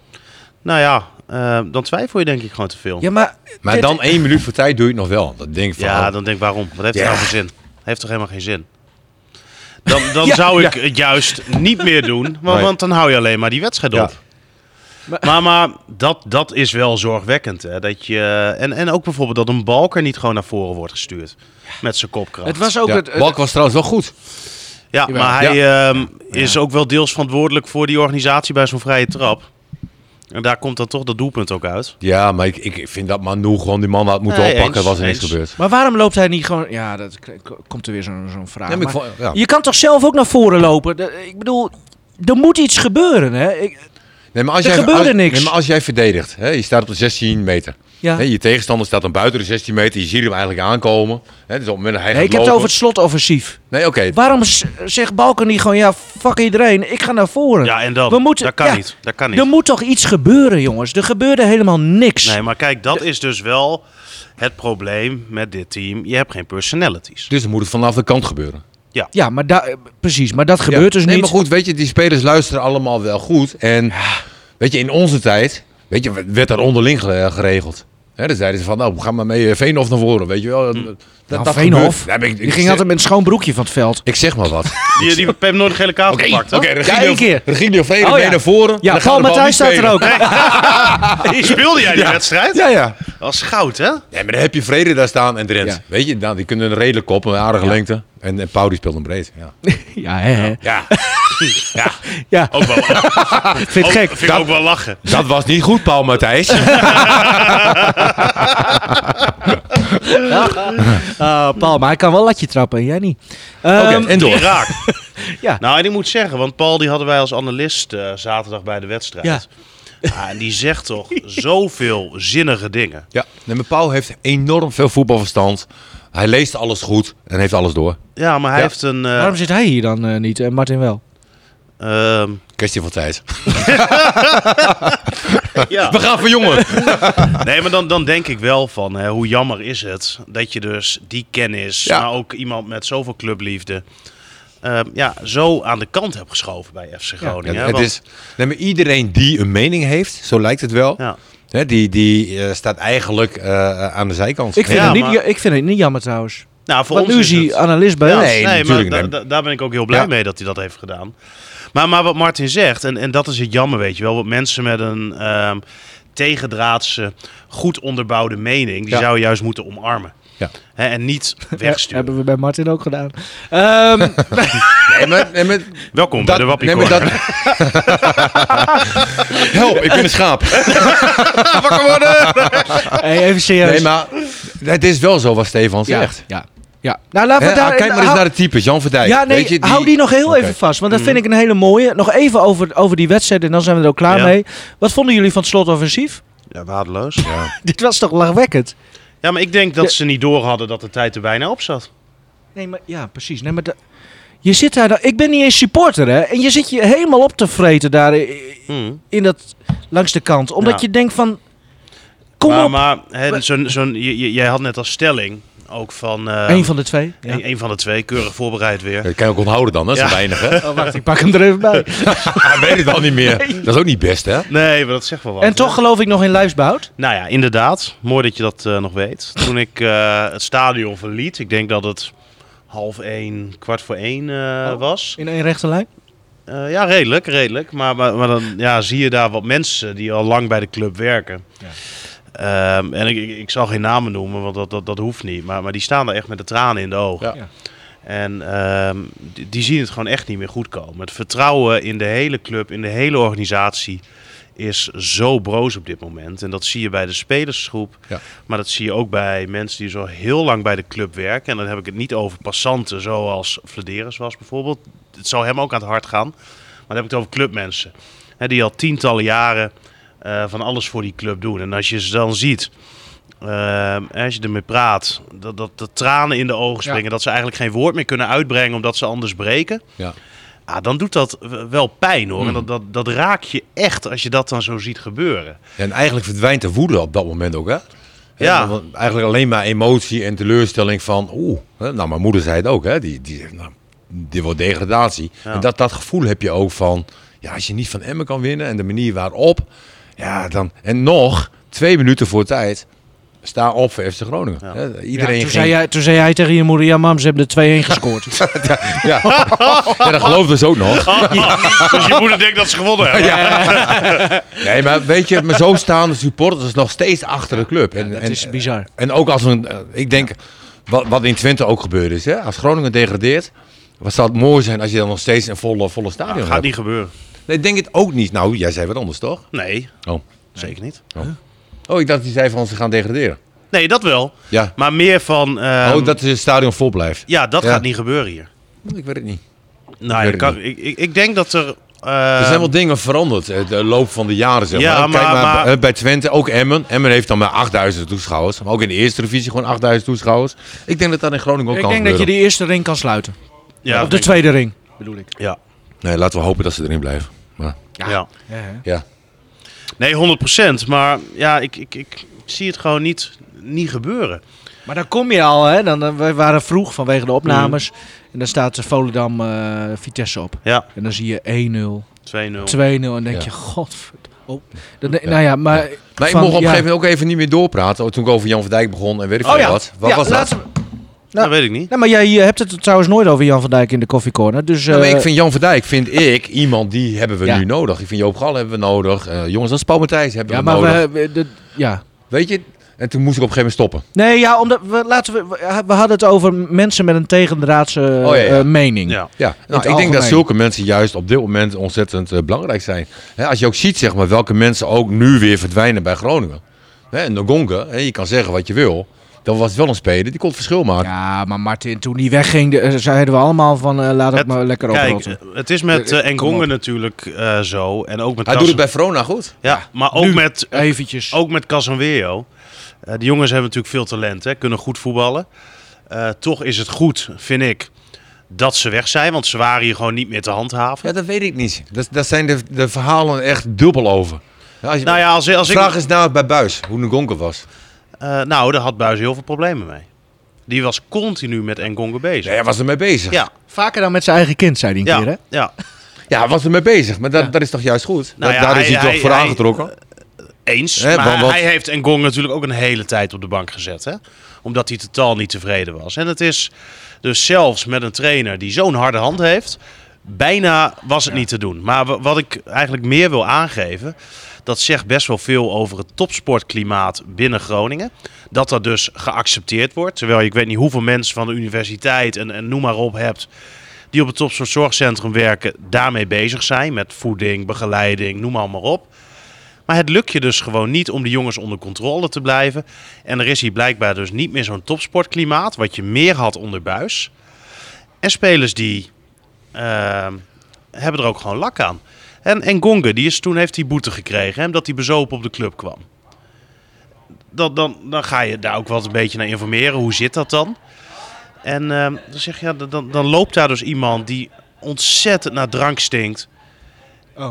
S5: Nou ja, eh, dan twijfel je denk ik gewoon te veel.
S3: Ja, maar...
S6: maar
S3: dit-
S6: dan één minuut voor tijd doe je het nog wel. Dat denk ik van. oh,
S5: Ja, dan denk ik waarom? Wat heeft het
S6: Ja.
S5: nou voor zin? Heeft toch helemaal geen zin? Dan, dan
S3: Ja,
S5: zou ik het juist niet meer doen, want,
S6: Nee.
S5: want dan hou je alleen maar die wedstrijd
S6: Ja.
S5: op. Maar, maar dat, dat is wel zorgwekkend. Hè? Dat je, en, en ook bijvoorbeeld dat een balker niet gewoon naar voren wordt gestuurd. Met zijn kopkracht.
S3: Het was ook
S6: Ja,
S3: het... het-
S6: Balk was trouwens wel goed.
S5: ja, maar hij ehm, is ook wel deels verantwoordelijk voor die organisatie bij zo'n vrije trap. En daar komt dan toch dat doelpunt ook uit.
S6: Ja, maar ik, ik vind dat Manu gewoon die man had moeten
S5: Nee,
S6: oppakken.
S5: eens,
S6: was er niks
S5: eens.
S6: gebeurd.
S3: maar waarom loopt hij niet gewoon... Ja, dat k- k- komt er weer zo'n zo'n vraag.
S6: Ja, maar ik
S3: Maar
S6: vond- ja.
S3: Je kan toch zelf ook naar voren lopen? De- ik bedoel, er moet iets gebeuren, hè? Ik,
S6: Nee, maar als
S3: Er
S6: jij,
S3: gebeurde
S6: als-
S3: niks.
S6: nee, maar als jij verdedigt, hè, je staat op de 16 meter.
S3: Ja.
S6: Hè, je tegenstander staat dan buiten de 16 meter. Je ziet hem eigenlijk aankomen. Hè, dus op het moment dat hij
S3: nee, ik heb
S6: gaat
S3: het
S6: lopen-
S3: over het slotoffensief.
S6: Nee, oké.
S3: Waarom z- zegt Balken niet gewoon... Ja, fuck iedereen, ik ga naar voren.
S5: Ja, en dan?
S3: We moeten-
S5: dat kan
S3: ja,
S5: niet. Dat kan niet.
S3: Er moet toch iets gebeuren, jongens? Er gebeurde helemaal niks.
S5: Nee, maar kijk, dat is dus wel het probleem met dit team. Je hebt geen personalities.
S6: Dus dan moet het vanaf de kant gebeuren.
S3: Ja, maar da- eh, precies. Maar dat gebeurt
S6: Ja.
S3: dus
S6: nee,
S3: niet.
S6: maar goed, weet je, die spelers luisteren allemaal wel goed. En weet je, in onze tijd, weet je, werd daar onderling ge- geregeld. Hè, dan zeiden ze van, nou, ga maar mee eh, Veenhof naar voren, weet je wel. Dat,
S3: Nou,
S6: dat
S3: Veenhof,
S6: gebeurt. Ja, maar ik,
S3: die
S6: ik
S3: ging
S6: zeg-
S3: altijd met een schoon broekje van het veld.
S6: Ik zeg maar wat.
S5: Die, die heeft nooit een gele kaart
S6: Oké,
S5: gepakt,
S6: oké,
S5: hè?
S3: Ja, één keer.
S6: Regilio Regilio Vrede
S3: Oh,
S6: mee
S3: ja.
S6: naar voren. en
S3: Ja,
S6: dan gaan
S3: Paul
S6: we de bal
S3: Matthijs
S6: niet
S3: staat er
S6: spelen.
S3: ook.
S5: Speelde jij die wedstrijd?
S6: Ja, ja.
S5: Als goud, hè?
S6: Ja, maar dan heb je Vrede daar staan en Drent.
S3: Ja.
S6: Weet je, nou, die kunnen een redelijk kop, een aardige lengte. En, en Pau die speelt hem breed. Ja.
S3: Ja, hè, hè.
S6: ja.
S3: Ja,
S5: Ook wel, ook,
S3: vind het gek.
S5: Oh, vind ik ook wel lachen.
S6: Dat was niet goed, Paul Matthijs.
S3: Ah, Paul, maar hij kan wel latje trappen, jij niet.
S6: Oké,
S3: Ehm,
S6: en door.
S5: Raak.
S3: Ja.
S5: Nou, en ik moet zeggen, want Paul die hadden wij als analist eh, zaterdag bij de wedstrijd.
S3: Ja.
S5: Ah, en die zegt toch zoveel zinnige dingen.
S6: Ja, nee, maar Pauw heeft enorm veel voetbalverstand. Hij leest alles goed en heeft alles door.
S5: Ja, maar hij
S6: Ja.
S5: heeft een... eh,
S3: Waarom zit hij hier dan eh, niet en Martin wel?
S5: ehm,
S6: Kwestie van tijd.
S5: ja.
S6: We gaan voor jongen.
S5: Nee, maar dan, dan denk ik wel van, hè, hoe jammer is het dat je dus die kennis,
S6: Ja.
S5: maar ook iemand met zoveel clubliefde, ehm, ja, zo aan de kant hebt geschoven bij FC Groningen. hè,
S6: het
S5: want-
S6: is, nee, maar iedereen die een mening heeft, zo lijkt het wel,
S5: ja.
S6: hè, die, die eh, staat eigenlijk eh, aan de zijkant.
S3: Ik vind,
S5: Ja,
S3: het niet,
S5: maar-
S3: ja, ik vind het niet jammer trouwens.
S5: Nou, voor
S3: Want
S5: ons
S3: nu
S5: is
S3: is hij
S5: het-
S3: analist bij
S5: Ja,
S3: ons.
S6: nee,
S5: nee, maar
S6: natuurlijk
S5: da-
S6: niet.
S5: da- daar ben ik ook heel blij
S6: Ja.
S5: mee dat hij dat heeft gedaan. Maar, maar wat Martin zegt, en, en dat is het jammer, weet je wel, want mensen met een ehm, tegendraadse, goed onderbouwde mening, die
S6: Ja.
S5: zou je juist moeten omarmen.
S6: Ja.
S5: Hè, en niet
S3: Ja,
S5: wegsturen.
S3: hebben we bij Martin ook gedaan. Ehm,
S6: Nee, maar- nee, maar-
S5: Welkom bij de Wappie
S6: nee, maar
S5: Corner.
S6: dat- Help, ik ben een schaap.
S3: hey, even serieus.
S6: Nee, maar het is wel zo wat Stefan
S3: ja,
S6: zegt.
S3: Ja, ja. Nou, laten we
S6: Hè, ah,
S3: daar...
S6: kijk maar eens
S3: hou-
S6: naar de types. Jan Verdijk.
S3: ja, nee,
S6: weet je,
S3: hou die nog heel even vast, want dat
S5: Mhm.
S3: vind ik een hele mooie. Nog even over, over die wedstrijd en dan zijn we er ook klaar
S5: Ja.
S3: mee. Wat vonden jullie van het slotoffensief?
S5: Ja, waardeloos.
S3: Dit was toch lachwekkend?
S5: Ja, maar ik denk dat
S3: Ja.
S5: ze niet door hadden dat de tijd er bijna op zat.
S3: Nee, maar ja, precies. Nee, maar da- je zit daar. dan- Ik ben niet eens supporter, hè? En je zit je helemaal op te vreten daar i-
S5: Hmm.
S3: in dat, langs de kant. Omdat
S5: Ja.
S3: je denkt van. Kom
S5: maar
S3: op.
S5: maar hè, zo'n- zo'n- j- j- jij had net als stelling ook van... eh,
S3: Eén van de twee. Ja.
S5: een- een van de twee, keurig voorbereid weer.
S6: Dat kan je ook onthouden dan, hè? Dat is
S5: Ja.
S6: weinig, hè?
S3: Oh, wacht, ik pak hem er even bij.
S6: Hij weet het al niet meer. Dat is ook niet best, hè?
S5: Nee, maar dat zegt wel wat.
S3: En
S5: hè?
S3: toch geloof ik nog in lijfsbout.
S5: Nou ja, inderdaad. Mooi dat je dat eh, nog weet. Toen ik eh, het stadion verliet, ik denk dat het half één, kwart voor één eh, was.
S3: In één rechte lijn.
S5: Eh, ja, redelijk, redelijk. Maar, maar, maar dan ja, zie je daar wat mensen die al lang bij de club werken. Ehm, en ik, ik, ik zal geen namen noemen, want dat, dat, dat hoeft niet. Maar, maar die staan daar echt met de tranen in de ogen.
S6: Ja.
S3: Ja.
S5: En ehm, die, die zien het gewoon echt niet meer goed komen. Het vertrouwen in de hele club, in de hele organisatie is zo broos op dit moment. En dat zie je bij de spelersgroep.
S6: Ja.
S5: Maar dat zie je ook bij mensen die zo heel lang bij de club werken. En dan heb ik het niet over passanten zoals Vladeres was bijvoorbeeld. Het zou hem ook aan het hart gaan. Maar dan heb ik het over clubmensen. Hè, die al tientallen jaren eh, van alles voor die club doen. En als je ze dan ziet, eh, als je ermee praat, dat, dat de tranen in de ogen springen. Dat ze eigenlijk geen woord meer kunnen uitbrengen omdat ze anders breken.
S6: Ja.
S5: Ah, dan doet dat w- wel pijn hoor. En dat, dat, dat raak je echt als je dat dan zo ziet gebeuren.
S6: En eigenlijk verdwijnt de woede op dat moment ook, hè?
S5: Ja.
S6: Hè, want Eigenlijk alleen maar emotie en teleurstelling van... Oeh, hè, nou, mijn moeder zei het ook, hè? Die, die, nou, dit wordt degradatie.
S5: Ja.
S6: En dat, dat gevoel heb je ook van... Ja, als je niet van Emmen kan winnen en de manier waarop... Ja, dan... En nog, twee minuten voor tijd... Sta op voor FC Groningen.
S5: Ja.
S6: Hè,
S3: Ja, toen,
S6: Iedereen ging...
S3: zei jij, toen zei jij tegen je moeder, ja mam, ze hebben er 2-1 gescoord.
S6: Ja. ja, dat geloofden ze ook nog.
S5: Dus je moeder denkt dat ze gewonnen hebben.
S6: Nee, maar weet je, maar zo staan de supporters nog steeds achter de club. En,
S3: dat
S6: en-
S3: is bizar.
S6: En ook als een, eh, ik denk, wat, wat in Twente ook gebeurd is, hè? als Groningen degradeert, wat zou het mooi zijn als je dan nog steeds een volle, volle stadion
S5: gaat
S6: hebt.
S5: niet gebeuren.
S6: Nee, ik denk het ook niet. Nou, jij zei wat anders, toch?
S5: Nee,
S6: Oh,
S5: zeker niet.
S6: oh ik dacht die zei van ze gaan degraderen.
S5: Nee, dat wel.
S6: Ja.
S5: Maar meer van. ehm,
S6: oh, dat het stadion vol blijft.
S5: Ja, dat
S6: Ja.
S5: gaat niet gebeuren hier.
S6: Ik weet het niet.
S5: Nou,
S6: weet
S5: ik,
S6: het
S5: kan, ik, ik, ik denk dat er. eh,
S6: Er zijn
S3: Ehm,
S6: wel dingen veranderd eh, de loop van de jaren. Zeg maar.
S5: Ja,
S6: Kijk maar,
S5: maar- maar-
S6: bij- eh, bij Twente, ook Emmen. Emmen heeft dan maar 8000 toeschouwers. Maar ook in de eerste divisie gewoon 8000 toeschouwers. Ik denk dat dat in Groningen ook
S3: ik
S6: kan
S3: denk dat je
S6: gebeuren.
S3: die eerste ring kan sluiten.
S5: ja,
S3: of de
S5: denk-
S3: tweede ring.
S5: Ja.
S6: Nee, laten we hopen dat ze erin blijven. Maar,
S5: Ja.
S6: ja.
S5: Nee, 100%. Maar ja, ik, ik, ik zie het gewoon niet, niet gebeuren.
S3: Maar dan kom je al, hè? Dan, dan- we waren vroeg vanwege de opnames.
S6: Mhm.
S3: En dan staat eh, Volendam eh, Vitesse op.
S5: Ja, 2-0.
S3: En dan zie je 1-0, 2-0. En dan denk
S6: Ja.
S3: je, godverdomme. Oh. Dan, Nou ja, maar...
S6: Maar ik
S3: van-
S6: mocht op een
S3: ja.
S6: gegeven moment ook even niet meer doorpraten. Oh, Toen ik over Jan van Dijk begon en weet ik veel
S3: Oh ja.
S6: wat. Wat
S3: Ja,
S6: was dat?
S3: laten we-
S5: Dat weet ik niet.
S3: Nou, maar jij eh, hebt het trouwens nooit over Jan van Dijk in de koffiecorner. Dus,
S6: Nou, maar
S3: eh,
S6: ik vind Jan van Dijk, vind ik, iemand die hebben we
S3: Ja.
S6: nu nodig. Ik vind Joop Gal hebben we nodig. Eh, jongens, als Paul Matthijs hebben
S3: Ja,
S6: we
S3: maar
S6: nodig.
S3: we, we- de- ja.
S6: Weet je? En toen moest ik op een gegeven moment stoppen.
S3: Nee, ja, omdat we, laten we, we- we hadden het over mensen met een tegendraadse eh,
S6: Oh, ja, ja.
S3: eh, mening.
S5: Ja.
S6: Ja,
S3: het
S6: nou, ik denk dat
S3: algemeen.
S6: zulke mensen juist op dit moment ontzettend eh, belangrijk zijn. Hè, als je ook ziet zeg maar, welke mensen ook nu weer verdwijnen bij Groningen. Hè, en Nogonke, hè, je kan zeggen wat je wil. Dat was wel een speler, die kon het verschil maken.
S3: Ja, maar Martin, toen die wegging, de- eh, zeiden we allemaal van eh, laat het,
S5: Het-
S3: maar lekker
S5: Kijk,
S3: oprotten.
S5: eh, het is met
S3: Eh,
S5: eh
S3: eh, kom
S5: Engongen
S3: op.
S5: natuurlijk eh, zo. En ook met
S6: Hij
S5: Cas-
S6: doet het bij Verona goed.
S5: Ja, maar ook
S3: nu.
S5: met, eh,
S3: Eventjes.
S5: ook met Casanweo. Eh die jongens hebben natuurlijk veel talent, hè, kunnen goed voetballen. Eh, toch is het goed, vind ik, dat ze weg zijn. Want ze waren hier gewoon niet meer te handhaven.
S6: Ja, dat weet ik niet. Dat, daar zijn de, de verhalen echt dubbel over. Ja, als je-
S5: nou ja, als, als
S6: de vraag
S5: ik...
S6: is nou bij Buis, hoe Nogonke was.
S5: Eh, nou, daar had Buijs heel veel problemen mee. Die was continu met Engongen bezig.
S6: Ja, hij was ermee bezig.
S5: Ja,
S3: Vaker dan met zijn eigen kind, zei hij een
S5: ja,
S3: keer, hè?
S5: ja.
S6: Ja, hij was ermee bezig. Maar dat, dat is toch juist goed?
S5: Nou
S6: Dat-
S5: ja,
S6: daar is
S5: hij-
S6: hij toch
S5: hij-
S6: voor
S5: hij-
S6: aangetrokken?
S5: Eens.
S6: Hè,
S5: maar
S6: want wat-
S5: hij heeft Engong natuurlijk ook een hele tijd op de bank gezet. Hè? Omdat hij totaal niet tevreden was. En het is dus zelfs met een trainer die zo'n harde hand heeft. Bijna was het niet te doen. Maar wa- wat ik eigenlijk meer wil aangeven. Dat zegt best wel veel over het topsportklimaat binnen Groningen. Dat dat dus geaccepteerd wordt. Terwijl ik weet niet hoeveel mensen van de universiteit en, en noem maar op hebt. Die op het topsportzorgcentrum werken, daarmee bezig zijn. Met voeding, begeleiding, noem maar, maar op. Maar het lukt je dus gewoon niet om de jongens onder controle te blijven. En er is hier blijkbaar dus niet meer zo'n topsportklimaat, wat je meer had onder buis. En spelers die ehm, hebben er ook gewoon lak aan. En, en Gonge, die is, toen heeft hij boete gekregen, hè, omdat hij bezopen op de club kwam. Dan, dan, dan ga je daar ook wat een beetje naar informeren. Hoe zit dat dan? En ehm, dan zeg je, ja, dan, dan loopt daar dus iemand die ontzettend naar drank stinkt.
S3: Oh.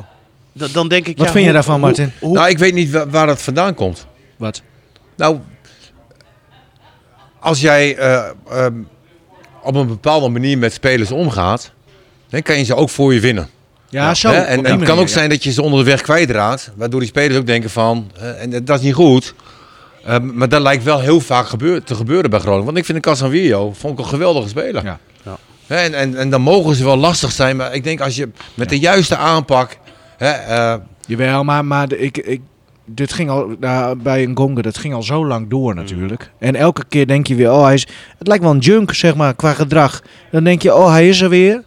S5: Dan, dan denk ik,
S3: Wat
S5: ja,
S3: vind je
S5: hoe-
S3: daarvan,
S5: hoe-
S3: Martin?
S5: hoe-
S6: Nou, ik weet niet wa- waar dat vandaan komt.
S3: Wat?
S6: Nou, als jij eh, ehm, op een bepaalde manier met spelers omgaat, dan kan je ze ook voor je winnen.
S3: Ja, zo.
S6: Hè?
S3: op die
S6: En, en het kan
S3: manier,
S6: ook
S3: ja.
S6: zijn dat je ze onder de weg kwijtraakt, waardoor die spelers ook denken van, eh, en dat is niet goed. Eh, maar dat lijkt wel heel vaak gebeur- te gebeuren bij Groningen. Want ik vind de Casanvillo vond ik een geweldige speler.
S3: Ja.
S5: Ja.
S6: Hè, En, en, en dan mogen ze wel lastig zijn, maar ik denk als je met de juiste aanpak... Hè, eh,
S3: Jawel, maar, maar de- ik, ik, dit ging al daar bij een gonga, dat ging al zo lang door
S5: Mm.
S3: natuurlijk. En elke keer denk je weer, oh hij is, het lijkt wel een junk zeg maar qua gedrag. Dan denk je, oh hij is er weer.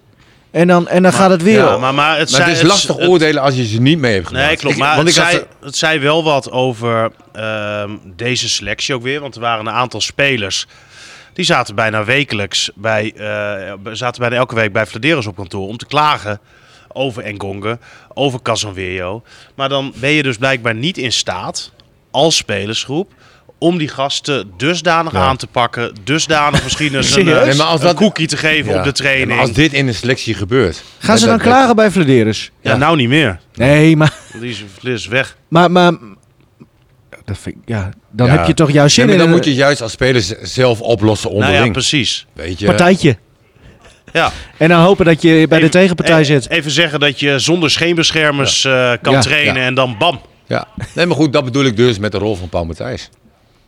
S3: En dan, en dan gaat het weer.
S5: Ja, maar, maar het,
S6: maar
S5: zei-
S6: het is lastig
S5: het-
S6: oordelen als je ze niet mee hebt gemaakt.
S5: Nee, klopt.
S6: Ik-
S5: Maar
S6: want
S5: het,
S6: ik had
S5: zei,
S6: de-
S5: het zei wel wat over ehm, deze selectie ook weer. Want er waren een aantal spelers. Die zaten bijna wekelijks bij, eh, zaten bijna elke week bij Vladeros op kantoor om te klagen over Engonge, over Casanwejo. Maar dan ben je dus blijkbaar niet in staat, als spelersgroep, om die gasten dusdanig aan te pakken. Dusdanig misschien eens een, eh,
S6: Nee, maar als
S5: een
S6: dat-
S5: cookie te geven
S6: Ja.
S5: op de training.
S6: Maar als dit in de selectie gebeurt...
S3: Gaan ze
S6: hè,
S3: dan
S6: dat-
S3: klagen bij Vladeris?
S5: ja, nou niet meer.
S3: Nee, maar,
S5: Die is, die is weg.
S3: maar, maar dat vind ik- ja, dan
S6: Ja.
S3: heb je toch jouw
S6: Nee,
S3: zin
S6: maar
S3: in eh?
S6: dan
S3: een
S6: moet je juist als speler z- zelf oplossen
S5: Nou
S6: onderling.
S5: ja, precies.
S6: Weet je,
S3: partijtje.
S5: Ja.
S3: En dan hopen dat je bij de
S5: Even-
S3: tegenpartij
S5: e-
S3: zit.
S5: Even zeggen dat je zonder scheenbeschermers eh, kan
S3: Ja,
S5: trainen
S6: ja.
S5: en dan bam.
S6: Ja, nee, maar goed, dat bedoel ik dus met de rol van Paul Matthijs.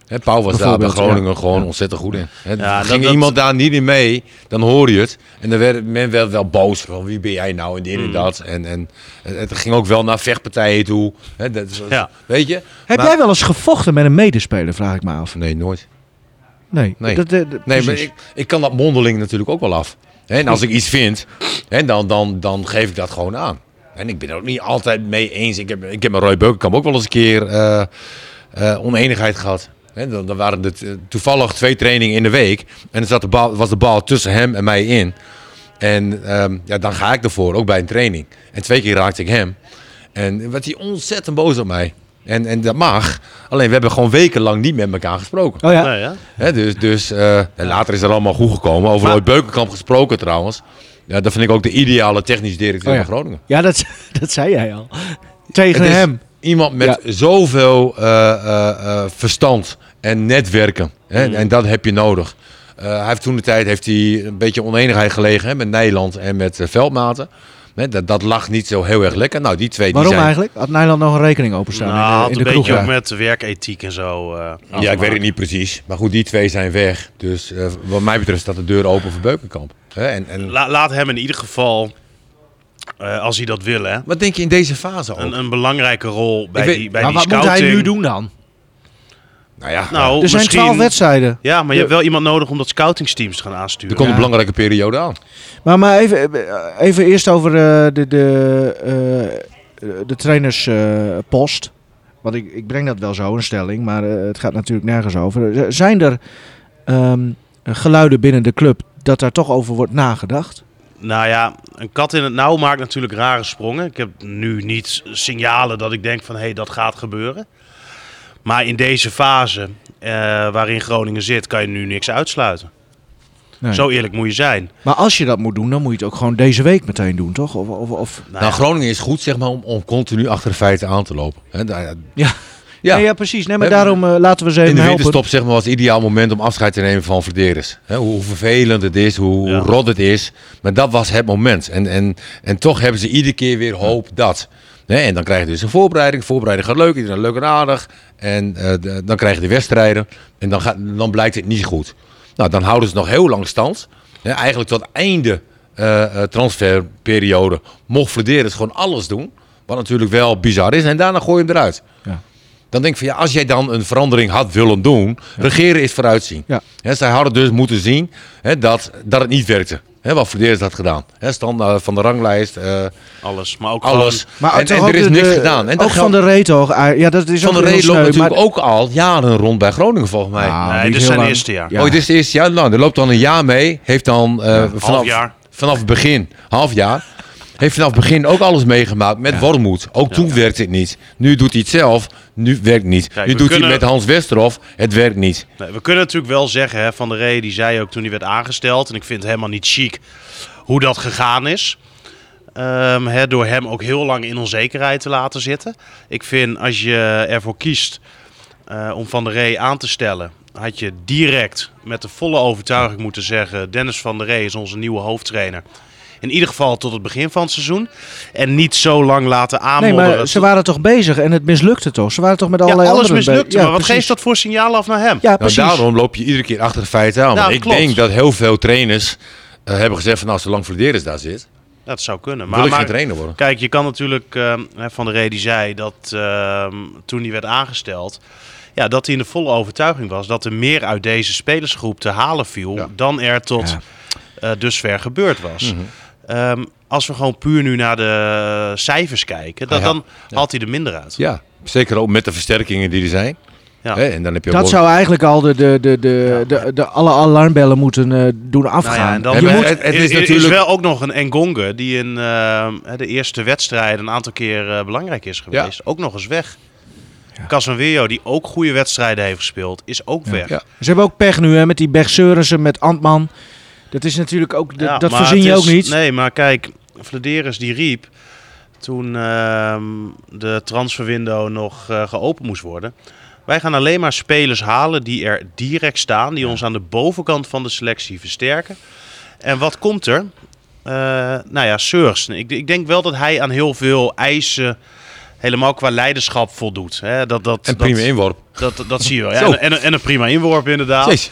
S6: Hè, Paul was daar bij
S3: Bijvoorbeeld,
S6: Groningen gewoon ontzettend goed in. Hè,
S5: Ja, dat-
S6: ging
S5: dat-
S6: iemand daar niet in mee, dan hoor je het. En dan werd men wel, wel boos van wie ben jij nou en dit
S5: Hmm.
S6: en dat. En, en het ging ook wel naar vechtpartijen toe. Hè, dat, is-
S5: Ja.
S6: Weet je?
S3: Heb
S6: Maar-
S3: jij wel eens gevochten met een medespeler, vraag ik me af.
S6: Nee, nooit.
S3: Nee.
S6: Nee.
S3: dat- dat- dat-
S6: Nee, maar
S3: precies.
S6: ik, ik kan dat mondeling natuurlijk ook wel af. Hè, En als ik iets vind, hè, dan, dan, dan geef ik dat gewoon aan. En ik ben er ook niet altijd mee eens. Ik heb, ik heb met Roy Beukenkamp ook wel eens een keer eh eh oneenigheid gehad. Hè, dan, dan waren het eh, toevallig twee trainingen in de week. En er zat de bal, was de bal tussen hem en mij in. En ehm, ja, dan ga ik ervoor, ook bij een training. En twee keer raakte ik hem. En werd hij ontzettend boos op mij. En, en dat mag. Alleen we hebben gewoon wekenlang niet met elkaar gesproken.
S3: Oh ja.
S5: Nou ja.
S6: Hè, dus dus eh, en later is dat allemaal goed gekomen. Over Roy Beukenkamp gesproken trouwens. Ja, dat vind ik ook de ideale technisch directeur
S3: Oh ja.
S6: van Groningen.
S3: Ja, dat, dat zei jij al. Tegen
S6: Het is
S3: hem.
S6: Iemand met zoveel eh, eh, eh, verstand en netwerken. Hè?
S3: Mm.
S6: En dat heb je nodig. Eh, hij heeft toen de tijd heeft hij een beetje oneenigheid gelegen hè, met Nederland en met eh, Veldmaten. Hè, dat, dat lag niet zo heel erg lekker. Nou, die twee die
S3: Waarom
S6: zijn...
S3: eigenlijk? Had Nederland nog een rekening openstaan
S5: Nou,
S3: in de,
S5: had
S3: in
S5: een
S3: de
S5: beetje
S3: kroeg?
S5: ook
S3: Ja.
S5: met werkethiek en zo. eh,
S6: Ja, ik
S5: afgemaakt.
S6: weet het niet precies. Maar goed, die twee zijn weg. Dus eh, wat mij betreft staat de deur open voor Beukenkamp. Hè, en, en...
S5: La- laat hem in ieder geval, eh, als hij dat wil, hè,
S6: Wat denk je in deze fase ook?
S5: een, een belangrijke rol bij
S6: Ik weet-
S5: die, bij
S3: Maar
S5: die
S3: wat moet
S5: scouting.
S3: hij nu doen dan?
S6: Nou ja,
S5: Nou,
S3: Er zijn
S5: misschien-
S3: twaalf wedstrijden.
S5: Ja, maar je hebt wel iemand nodig om dat scoutingsteam te gaan aansturen.
S6: Er komt
S3: Ja.
S6: een belangrijke periode aan.
S3: Maar, maar even, eh, even eerst over eh, de, de, eh, de trainerspost. Eh, Want ik, ik breng dat wel zo, een stelling, maar eh, het gaat natuurlijk nergens over. Z- Zijn er ehm, geluiden binnen de club dat daar toch over wordt nagedacht?
S5: Nou ja, een kat in het nauw maakt natuurlijk rare sprongen. Ik heb nu niet signalen dat ik denk van hé, hey, dat gaat gebeuren. Maar in deze fase eh, waarin Groningen zit, kan je nu niks uitsluiten.
S3: Nee.
S5: Zo eerlijk moet je zijn. Nou
S3: Maar als je dat moet doen, dan moet je het ook gewoon deze week meteen doen, toch? Of, of, of...
S5: Nou,
S6: nou,
S5: ja,
S6: Groningen is goed zeg maar, om, om continu achter de feiten aan te lopen. Hè, daar-
S3: Ja.
S6: ja.
S3: Nee, ja, precies. Nee, maar
S6: We hebben-
S3: daarom eh, laten we ze even
S6: in de
S3: helpen.
S6: winterstop zeg maar, was het ideaal moment om afscheid te nemen van Verderes. Hè, hoe, hoe vervelend het is, hoe,
S5: Ja.
S6: hoe rot het is. Maar dat was het moment. En, en, en toch hebben ze iedere keer weer hoop dat. Hè, en dan krijg je dus een voorbereiding. Voorbereiding gaat leuk, iedereen leuk en aardig. En eh, de- dan krijg je de wedstrijden. En dan, gaat, dan blijkt het niet goed. Nou, dan houden ze nog heel lang stand. Hè, eigenlijk tot einde eh, eh, transferperiode mocht Verderes gewoon alles doen. Wat natuurlijk wel bizar is. En daarna gooi je hem eruit. Dan denk ik van ja, als jij dan een verandering had willen doen, regeren is vooruitzien.
S3: Ja.
S6: Hè, zij hadden dus moeten zien hè, dat, dat het niet werkte. Hè, wat Verdeers had gedaan. Hè, stand eh, van de ranglijst, eh,
S5: alles. Maar ook
S6: alles.
S5: gewoon-
S3: Maar
S6: en,
S3: toch
S6: en
S3: ook
S6: er is
S3: de-
S6: niks
S3: de-
S6: gedaan. En
S3: ook van de reet toch? Ah, Ja, dat is
S6: van de
S3: ook heel
S6: Ree loopt
S3: sneu,
S6: natuurlijk
S3: maar-
S6: ook al jaren rond bij Groningen volgens mij.
S3: Nou,
S5: Nee,
S3: die
S5: dit
S3: is
S5: zijn
S3: heel
S5: eerste jaar.
S3: Ja.
S6: Oh, dit is het eerste jaar. Nou, er loopt dan een jaar mee. Heeft dan eh, vanaf,
S5: jaar.
S6: vanaf het begin, half jaar. Heeft vanaf het begin ook alles meegemaakt met Wormoed. Ook toen werkte het niet. Nu doet hij het zelf. Nu werkt het niet.
S5: Kijk,
S6: nu
S5: we
S6: doet
S5: kunnen-
S6: hij het met Hans Westerhof. Het werkt niet.
S5: Nee, we kunnen natuurlijk wel zeggen, hè, Van der Rey die zei ook toen hij werd aangesteld, en ik vind het helemaal niet chic hoe dat gegaan is. Ehm, hè, door hem ook heel lang in onzekerheid te laten zitten. Ik vind als je ervoor kiest eh, eh, om Van der Ree aan te stellen, had je direct met de volle overtuiging moeten zeggen: Dennis van der Ree is onze nieuwe hoofdtrainer. In ieder geval tot het begin van het seizoen. En niet zo lang laten
S3: Nee,
S5: aanmodderen.
S3: maar ze waren toch bezig en het mislukte toch? Ze waren toch met
S5: ja,
S3: allerlei
S5: alles
S3: anderen be-
S5: mislukte.
S3: Ja,
S5: maar wat
S3: precies.
S5: geeft dat voor signaal af naar hem?
S3: Ja,
S6: Nou,
S3: precies.
S6: daarom loop je iedere keer achter de feiten aan. Want
S5: Nou,
S6: ik
S5: klopt.
S6: denk dat heel veel trainers eh, hebben gezegd van nou, zolang Flederis daar zit,
S5: Dat zou kunnen.
S6: wil
S5: Maar,
S6: ik geen
S5: maar-
S6: trainer worden.
S5: Kijk, je kan natuurlijk ehm, hè, van de reden die zei dat ehm, toen hij werd aangesteld, ja, dat hij in de volle overtuiging was dat er meer uit deze spelersgroep te halen viel dan er tot eh, dusver gebeurd was.
S6: Mhm.
S5: Ehm, als we gewoon puur nu naar de cijfers kijken, dat,
S6: Ah, ja.
S5: dan haalt hij er minder uit.
S6: Ja, zeker ook met de versterkingen die er zijn.
S5: Ja.
S6: Hè, en dan heb je
S3: Dat
S6: ook-
S3: zou eigenlijk al de, de, de, de, de, de alle alarmbellen moeten eh, doen afgaan.
S5: Nou ja, en dan
S6: Ja,
S5: je
S6: maar
S5: moet-
S6: het- het
S5: er-
S6: is
S5: er is
S6: natuurlijk-
S5: wel ook nog een Engonge die in ehm, hè, de eerste wedstrijd een aantal keer eh, belangrijk is geweest. Ook nog eens weg. Casemiro, die ook goede wedstrijden heeft gespeeld, is ook weg.
S6: ja.
S3: Ze hebben ook pech nu hè, met die Berg Seurensen, met Antman. Dat is natuurlijk ook, de-
S5: Ja,
S3: dat
S5: maar
S3: voorzien
S5: het
S3: je
S5: is-
S3: ook niet.
S5: Nee, maar kijk, Vladeris die riep toen ehm, de transferwindow nog eh, geopend moest worden. Wij gaan alleen maar spelers halen die er direct staan, die ons aan de bovenkant van de selectie versterken. En wat komt er? Eh, nou ja, Seurs. Ik, ik denk wel dat hij aan heel veel eisen, helemaal qua leiderschap, voldoet. Hè, dat, dat,
S6: En
S5: dat,
S6: prima inworp.
S5: Dat, dat, zie je wel. Ja,
S6: Zo.
S5: en, en, en een prima inworp inderdaad.
S6: Jezus.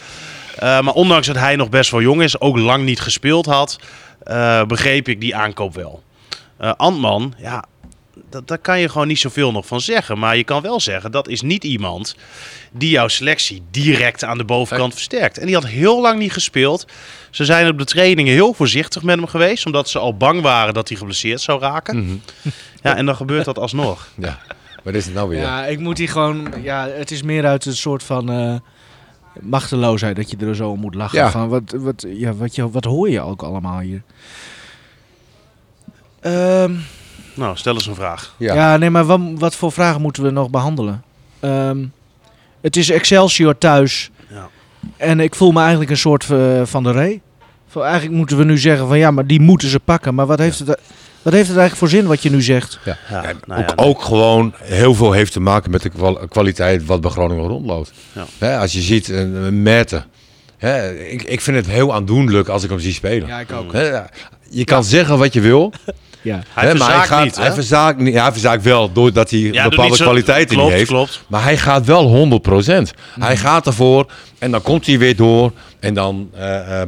S5: Eh, maar ondanks dat hij nog best wel jong is, ook lang niet gespeeld had, eh, begreep ik die aankoop wel. Eh, Antman, ja, dat, daar kan je gewoon niet zoveel nog van zeggen. Maar je kan wel zeggen, dat is niet iemand die jouw selectie direct aan de bovenkant versterkt. En die had heel lang niet gespeeld. Ze zijn op de trainingen heel voorzichtig met hem geweest, omdat ze al bang waren dat hij geblesseerd zou raken.
S6: Mhm.
S5: Ja, en dan gebeurt dat alsnog.
S6: Ja, wat is het nou weer?
S3: Ja, ik moet die gewoon. Ja, het is meer uit een soort van eh, machteloosheid dat je er zo om moet lachen.
S6: Ja.
S3: Van, wat, wat, ja, wat, je, wat hoor je ook allemaal hier? Ehm,
S5: Nou, stel eens een vraag.
S6: Ja.
S3: ja. nee, maar wat, wat voor vragen moeten we nog behandelen? Ehm, het is Excelsior thuis.
S5: Ja.
S3: En ik voel me eigenlijk een soort eh, van de ree. Van, Eigenlijk moeten we nu zeggen van ja, maar die moeten ze pakken. Maar wat heeft, het, wat heeft het eigenlijk voor zin wat je nu zegt?
S5: Ja,
S6: En
S5: nou ja,
S6: ook, ook gewoon heel veel heeft te maken met de kwa- kwaliteit wat bij Groningen rondloopt.
S5: Ja.
S6: Hè, als je ziet, een, een Merten. Hè, ik, ik vind het heel aandoenlijk als ik hem zie spelen.
S3: ik ook.
S6: Hè, je kan zeggen wat je wil,
S3: Ja.
S5: Hij
S6: hè, maar hij,
S5: verzaakt
S6: gaat,
S5: niet, hè?
S6: hij verzaakt niet. Ja, hij verzaakt wel doordat hij
S5: doet
S6: bepaalde
S5: niet zo-
S6: kwaliteiten
S5: klopt,
S6: niet heeft.
S5: klopt. Mhm.
S6: Maar hij gaat wel 100%. Hij gaat ervoor en dan komt hij weer door. En dan eh, eh,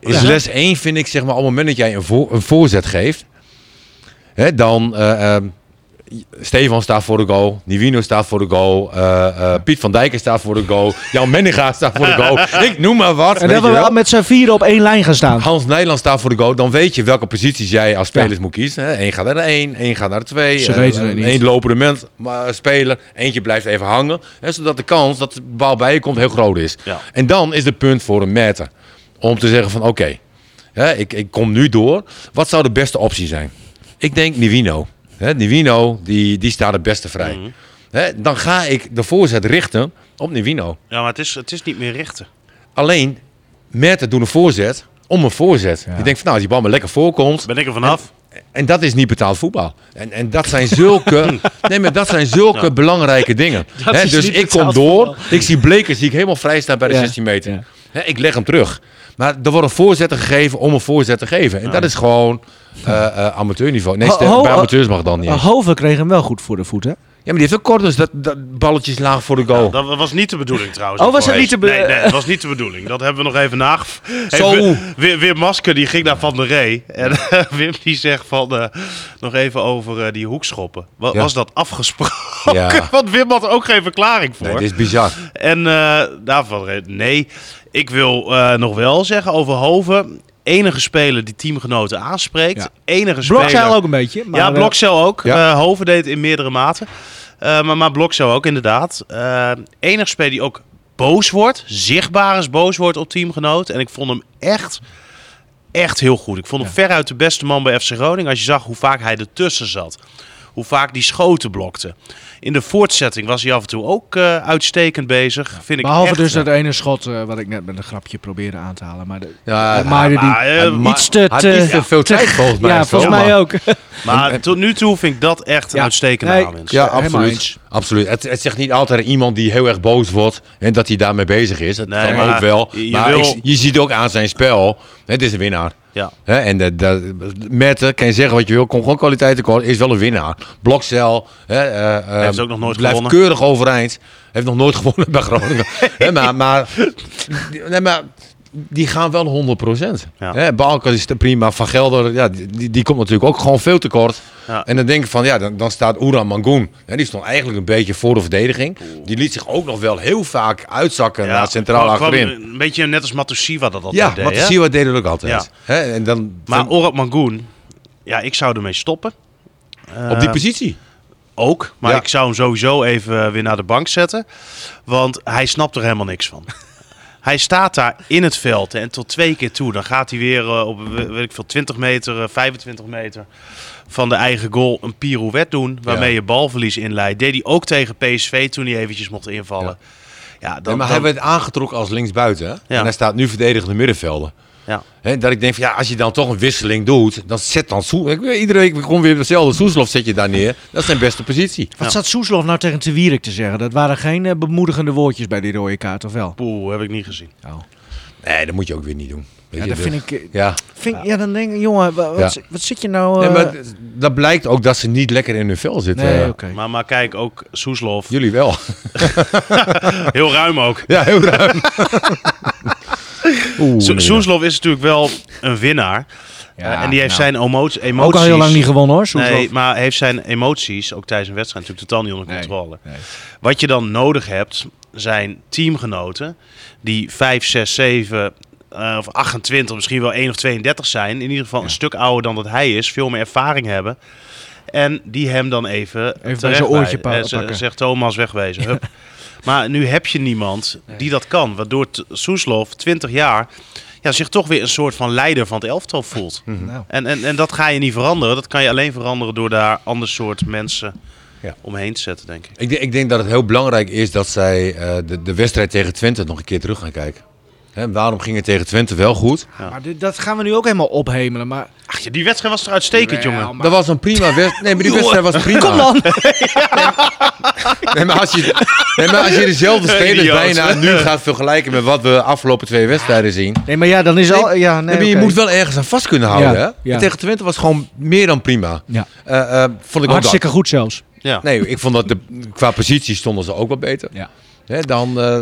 S6: is
S3: Ja.
S6: les 1, vind ik, zeg maar, op het moment dat jij een, voor- een voorzet geeft, hè, dan. eh, eh, Stefan staat voor de goal, Nivino staat voor de goal, eh, eh, Piet van Dijken staat voor de goal, Jan Menninga staat voor de goal. Ik noem maar wat.
S3: En
S6: weet
S3: dat
S6: je
S3: we
S6: wel.
S3: wel met z'n vieren op één lijn gaan staan.
S6: Hans Nederland staat voor de goal, dan weet je welke posities jij als spelers moet kiezen. hè. Eén gaat naar de één, één gaat naar de twee.
S3: Ze
S6: eh,
S3: weten het niet.
S6: Eén lopende mens, maar eh, speler, eentje blijft even hangen. Hè, zodat de kans dat de bal bij je komt heel groot is.
S5: Ja.
S6: En dan is het punt voor een meter om te zeggen van oké, hè, ik, ik kom nu door. Wat zou de beste optie zijn? Ik denk Nivino. Hè, Nivino, die, die staat het beste vrij. Hè, dan ga ik de voorzet richten op Nivino.
S5: Ja, maar het is, het is niet meer richten.
S6: Alleen, Merten doet een voorzet om een voorzet. Je denkt van nou, als die bal maar lekker voorkomt.
S5: Ben ik er vanaf?
S6: En dat is niet betaald voetbal. En, en dat zijn zulke, nee, maar dat zijn zulke belangrijke dingen. Hè,
S3: is
S6: dus
S3: niet
S6: ik kom
S3: betaald
S6: door.
S3: voetbal.
S6: Ik zie Bleker zie ik helemaal vrij staan bij de
S3: Ja,
S6: 16 meter.
S3: ja.
S6: Hè, ik leg hem terug. Maar er worden voorzetten gegeven om een voorzet te geven. En dat is gewoon eh, eh, amateurniveau. Nee,
S3: Ho-
S6: sterk,
S3: ho-
S6: bij amateurs mag dat niet.
S3: Maar
S6: eens.
S3: Hoven kreeg hem wel goed voor de voet, hè?
S6: Ja, maar die heeft ook kort, dus dat, dat balletjes laag voor de goal.
S5: Dat was niet de bedoeling trouwens.
S3: Oh, was dat niet de be-
S5: Nee, nee, dat was niet de bedoeling. Dat hebben we nog even nage...
S6: Zo.
S5: Weer, weer, Masker, die ging naar Van der Ree. En Wim die zegt van... eh, nog even over eh, die hoekschoppen. Wa-
S6: Ja.
S5: Was dat afgesproken?
S6: Ja.
S5: Want Wim had er ook geen verklaring voor.
S6: nee, dit is bizar.
S5: En eh daarvan reed- nee. Ik wil eh, nog wel zeggen over Hoven. Enige speler die teamgenoten aanspreekt.
S3: Ja.
S5: Enige speler...
S3: Blokzeil ook een beetje. Maar,
S5: ja,
S3: eh,
S5: Blokcel ook.
S6: ja.
S5: Eh, Hoven deed het in meerdere mate. Eh, maar, maar Blokcel ook, inderdaad. Eh enig speler die ook boos wordt, zichtbaar is boos wordt op teamgenoot. En ik vond hem echt, echt heel goed. Ik vond hem veruit de beste man bij FC Groningen. Als je zag hoe vaak hij ertussen zat. hoe vaak die schoten blokte. In de voortzetting was hij af en toe ook eh, uitstekend bezig. Vind ik
S3: Behalve
S5: echt,
S3: dus
S5: eh,
S3: dat ene schot eh, wat ik net met een grapje probeerde aan te halen. Maar de,
S6: Ja,
S3: eh, Maarden die
S5: maar, eh,
S6: Maar-
S3: iets te...
S6: Had
S3: te-
S6: iets te veel tijd volgens mij.
S3: ja,
S6: zo.
S3: volgens mij ook.
S5: Maar tot nu toe vind ik dat echt een
S3: Ja.
S5: uitstekende
S3: Nee.
S5: aanwinst.
S6: Ja,
S3: Helemaal
S6: absoluut.
S3: eens.
S6: absoluut. Het, het zegt niet altijd iemand die heel erg boos wordt en dat hij daarmee bezig is. Dat
S5: Nee,
S6: kan
S5: maar
S6: ook wel.
S5: je
S6: maar
S5: wil-
S6: ik- je ziet ook aan zijn spel, het is een winnaar.
S5: Ja.
S6: Hè, en dat, dat, Merten, kan je zeggen wat je wil, komt gewoon kwaliteit tekort, is wel een winnaar. Blokcel, hè, eh, eh,
S5: Heeft ook nog nooit
S6: blijft
S5: gewonnen.
S6: keurig overeind. Heeft nog nooit gewonnen bij Groningen. Hè, maar, maar, nee, maar die gaan wel 100%.
S5: Ja.
S6: Hè, Balkan is te prima, Van Gelder, ja, die, die- die komt natuurlijk ook gewoon veel tekort.
S5: Ja.
S6: En dan denk ik van, ja, dan, dan staat Oeran Mangoen. Hè, die stond eigenlijk een beetje voor de verdediging. Die liet zich ook nog wel heel vaak uitzakken naar centraal
S5: kwam- kwam
S6: achterin.
S5: Een beetje net als Matusiwa dat altijd
S6: Ja,
S5: deed.
S6: want
S5: hè?
S6: de wat deed dat ook altijd.
S5: Ja.
S6: Hè, en dan
S5: Maar
S6: van-
S5: Orad Mangoen, ja, ik zou ermee stoppen.
S6: op die
S5: Eh,
S6: positie.
S5: Ook, maar
S6: Ja.
S5: ik zou hem sowieso even eh, weer naar de bank zetten. Want hij snapt er helemaal niks van. hij staat daar in het veld en tot twee keer toe. Dan gaat hij weer eh, op we- weet ik veel, 20 meter, eh, 25 meter van de eigen goal een pirouette doen. Waarmee
S6: Ja.
S5: je balverlies inleidt. Deed hij ook tegen PSV toen hij eventjes mocht invallen. Ja, dan,
S6: Ja, maar
S5: dan-
S6: hij werd aangetrokken als linksbuiten. hè?
S5: Ja.
S6: En hij staat nu verdedigende middenvelder.
S5: ja.
S6: Hè, dat ik denk van ja, als je dan toch een wisseling doet, dan zet dan Soe. ik weet, Iedere week komt weer dezelfde Soeslof zet je daar neer. Dat is zijn beste positie.
S3: Wat zat Soeslof nou tegen Te Wierik te zeggen? Dat waren geen eh, bemoedigende woordjes bij die rode kaart, of wel?
S5: Poeh, heb ik niet gezien.
S6: Nou. Nee, dat moet je ook weer niet doen. Weet
S3: Ja,
S6: je, dus-
S3: dat vind ik... eh,
S6: Ja.
S3: Vind, ja. dan denk ik, jongen, wa- wat,
S6: Ja.
S3: zi- wat zit je nou...
S6: Nee,
S3: eh,
S6: maar d- dat blijkt ook dat ze niet lekker in hun vel zitten.
S3: nee,
S6: Ja.
S3: oké.
S5: Maar, maar kijk, ook Soeslof.
S6: Jullie wel.
S5: Heel ruim ook.
S6: ja, heel ruim. Oeh,
S5: So
S6: nee,
S5: Soeslof is natuurlijk wel een winnaar. Eh, en die heeft
S3: nou,
S5: zijn emoties...
S3: Ook
S5: emoties
S3: al heel lang niet gewonnen, hoor, Soeslof.
S5: Nee, maar heeft zijn emoties, ook tijdens een wedstrijd, natuurlijk totaal niet onder
S3: Nee,
S5: controle.
S3: nee.
S5: Wat je dan nodig hebt, zijn teamgenoten die 5, 6, 7 eh, of 28, misschien wel 1 of 32 zijn. In ieder geval een stuk ouder dan dat hij is, veel meer ervaring hebben. En die hem dan even,
S3: zijn
S5: terecht
S3: oortje
S5: bij-
S3: pa-
S5: eh, ze-
S3: pakken.
S5: Zegt Thomas wegwezen. Hup. Maar nu heb je niemand die dat kan. Waardoor T- Soeslof, 20 jaar, ja, zich toch weer een soort van leider van het elftal voelt.
S3: Nou.
S5: En, en, en dat ga je niet veranderen. Dat kan je alleen veranderen door daar ander soort mensen
S6: Ja.
S5: omheen te zetten, denk ik.
S6: Ik, denk- ik denk dat het heel belangrijk is dat zij eh, de, de wedstrijd tegen Twente nog een keer terug gaan kijken. Hè, waarom ging het tegen Twente wel goed?
S3: Maar dit- dat gaan we nu ook helemaal ophemelen, maar...
S5: Ach, ja, die wedstrijd was er uitstekend,
S3: Jawel,
S5: jongen.
S3: maar-
S6: Dat was een prima wedstrijd. Nee, maar die wedstrijd was prima.
S3: Kom dan!
S6: Nee, maar als je, nee, maar als je dezelfde spelers
S5: Idioot.
S6: bijna nu gaat vergelijken met wat we de afgelopen twee wedstrijden zien.
S3: Nee, maar ja, dan is al... Ja, nee,
S6: Nee, maar je
S3: oké.
S6: moet wel ergens aan vast kunnen houden.
S3: Ja,
S6: hè?
S3: ja.
S6: En Tegen Twente was gewoon meer dan prima.
S3: Ja.
S6: Eh, eh, vond ik ook
S3: Hartstikke goed zelfs.
S5: Ja.
S6: dat. Nee, ik vond dat de, qua positie stonden ze ook wat beter
S3: Ja.
S6: hè, dan, eh,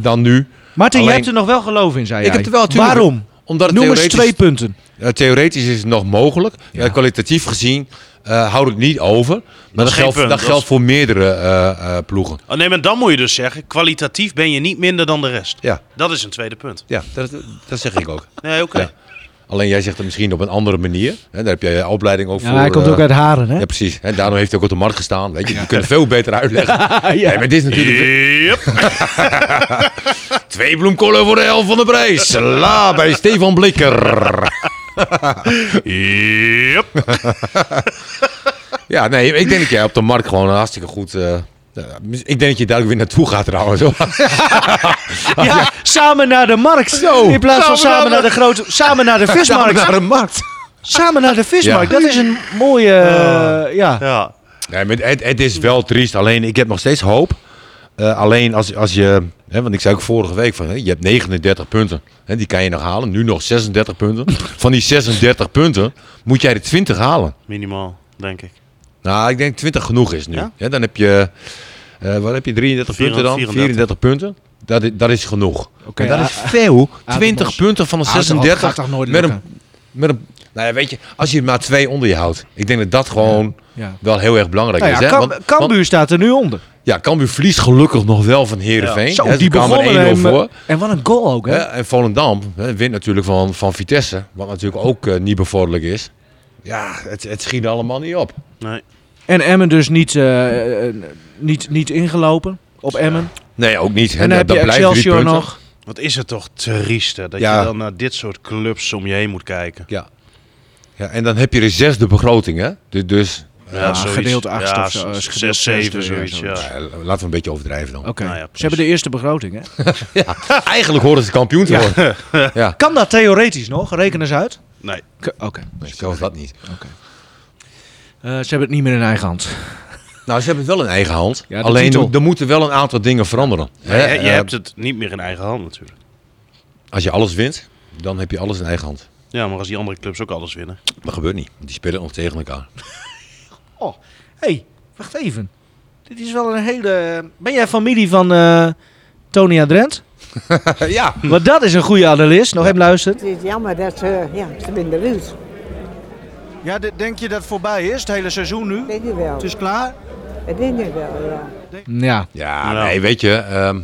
S6: dan nu.
S3: Martin,
S6: Alleen-
S3: jij hebt er nog wel geloof in, zei
S6: Ik
S3: jij.
S6: heb er wel natuurlijk-
S3: Waarom?
S6: Omdat het
S3: Noem eens
S6: theoretisch-
S3: twee punten.
S6: Eh, theoretisch is het nog mogelijk. Eh, kwalitatief gezien eh houdt het niet over. Maar dat,
S5: geen
S6: geldt,
S5: punt.
S6: dat
S5: Dat
S6: geldt
S5: is-
S6: voor meerdere eh, eh, ploegen.
S5: Oh, nee, maar dan moet je dus zeggen, kwalitatief ben je niet minder dan de rest.
S6: Ja,
S5: Dat is een tweede punt.
S6: ja dat, dat zeg ik ook.
S5: Nee, oké.
S6: Ja. Alleen jij zegt het misschien op een andere manier. Hè, daar heb jij je opleiding ook
S3: Ja,
S6: voor.
S3: hij komt
S6: eh,
S3: ook uit Haren, hè?
S6: Ja, precies. En daarom heeft hij ook op de markt gestaan. Weet je, je kunt het veel beter uitleggen. Nee, maar dit is natuurlijk
S5: Yep.
S6: twee bloemkolen voor de helft van de prijs. La bij Stefan Blikker.
S5: Yep.
S6: Ja, nee, ik denk dat jij op de markt gewoon hartstikke goed... eh, eh, ik denk dat je duidelijk weer naartoe gaat trouwens. hoor.
S3: Ja, samen naar de markt. In plaats van samen naar de grote... Samen naar de
S6: Samen
S3: vismarkt.
S6: naar de markt.
S3: Samen naar de vismarkt. Dat is een mooie... eh, ja.
S5: Ja.
S6: Nee, maar het, het is wel triest. Alleen, ik heb nog steeds hoop. Eh, alleen als, als je... Hè, want ik zei ook vorige week van... Hè, je hebt 39 punten. Hè, die kan je nog halen. Nu nog 36 punten. Van die 36 punten moet jij de 20 halen.
S5: Minimaal, denk ik.
S6: Nou, ik denk 20 genoeg is nu.
S5: Ja?
S6: Ja, dan heb je... eh, wat heb je? 33 punten dan?
S5: 34.
S6: 34 punten. Dat is, dat is genoeg.
S3: Oké,
S6: Maar dat
S3: ah,
S6: is veel.
S3: ah,
S6: 20
S3: Mos.
S6: punten van de
S3: Ah, dat
S6: 36.
S3: gaat toch nooit
S6: met een,
S3: lukken?
S6: met een, nou ja, weet je, als je er maar twee onder je houdt. Ik denk dat dat gewoon
S3: Ja.
S6: wel heel erg belangrijk
S3: Nou
S6: is.
S3: ja,
S6: Hè?
S3: Kam-
S6: Want- want-
S3: Kambuur staat er nu onder.
S6: Ja, Cambuur verliest gelukkig nog wel van Heerenveen.
S3: Zo,
S6: Hè, ze
S3: die
S6: kwamen er
S3: begonnen
S6: 1-0
S3: hem.
S6: voor.
S3: En wat een goal ook, hè?
S6: Hè, en Volendam hè, wint natuurlijk van, van Vitesse. Wat natuurlijk ook eh, niet bevorderlijk is. Ja, het, het schiet allemaal niet op.
S5: Nee.
S3: En Emmen dus niet, eh, eh, niet, niet ingelopen op Emmen.
S6: Nee, ook niet. Hè.
S3: en dan heb
S6: dat
S3: je
S6: blijven drie
S3: Excelsior
S6: punten.
S3: nog.
S5: Wat is het toch triest, hè, dat
S6: Ja.
S5: je dan naar dit soort clubs om je heen moet kijken.
S6: Ja, en dan heb je de zesde begroting. Hè? Dus, dus
S5: Ja, zoiets.
S3: gedeeld acht
S5: Ja,
S3: of zo, eh,
S5: zes,
S3: gedeeld
S5: zes,
S3: zesde,
S5: zeven,
S3: ja,
S5: zoiets.
S3: zoiets.
S5: Ja.
S6: Eh, laten we een beetje overdrijven dan.
S3: Oké,
S5: Nou ja, precies.
S3: ze hebben de eerste begroting, hè?
S6: Eigenlijk horen ze kampioen te worden. Ja,
S3: Kan dat theoretisch nog? Reken eens uit.
S5: Nee.
S3: K- Oké.
S6: nee, zelfs dat niet.
S3: Eh, ze hebben het niet meer in eigen hand.
S6: Nou, ze hebben het wel in eigen hand.
S3: Ja, de
S6: Alleen
S3: titel.
S6: er moeten wel een aantal dingen veranderen.
S5: Nee,
S6: Hè,
S5: je, je
S6: eh,
S5: hebt het niet meer in eigen hand natuurlijk.
S6: Als je alles wint, dan heb je alles in eigen hand.
S5: Ja, maar als die andere clubs ook alles winnen.
S6: Dat gebeurt niet. want Die spelen nog tegen elkaar.
S3: Oh, hé, hey, wacht even. Dit is wel een hele... eh, Ben jij familie van eh Tony Adrent?
S6: ja.
S3: Want dat is een goede analist. Nog even luisteren.
S1: Het is jammer dat ze, ja, ze minder is.
S2: Ja, de- denk je dat het voorbij is, het hele seizoen nu?
S1: Denk ik wel.
S2: Het
S3: Dus-
S2: is klaar?
S1: Dat denk ik wel, ja.
S3: Ja,
S6: Ja,
S5: Nou.
S6: nee, weet je. ehm,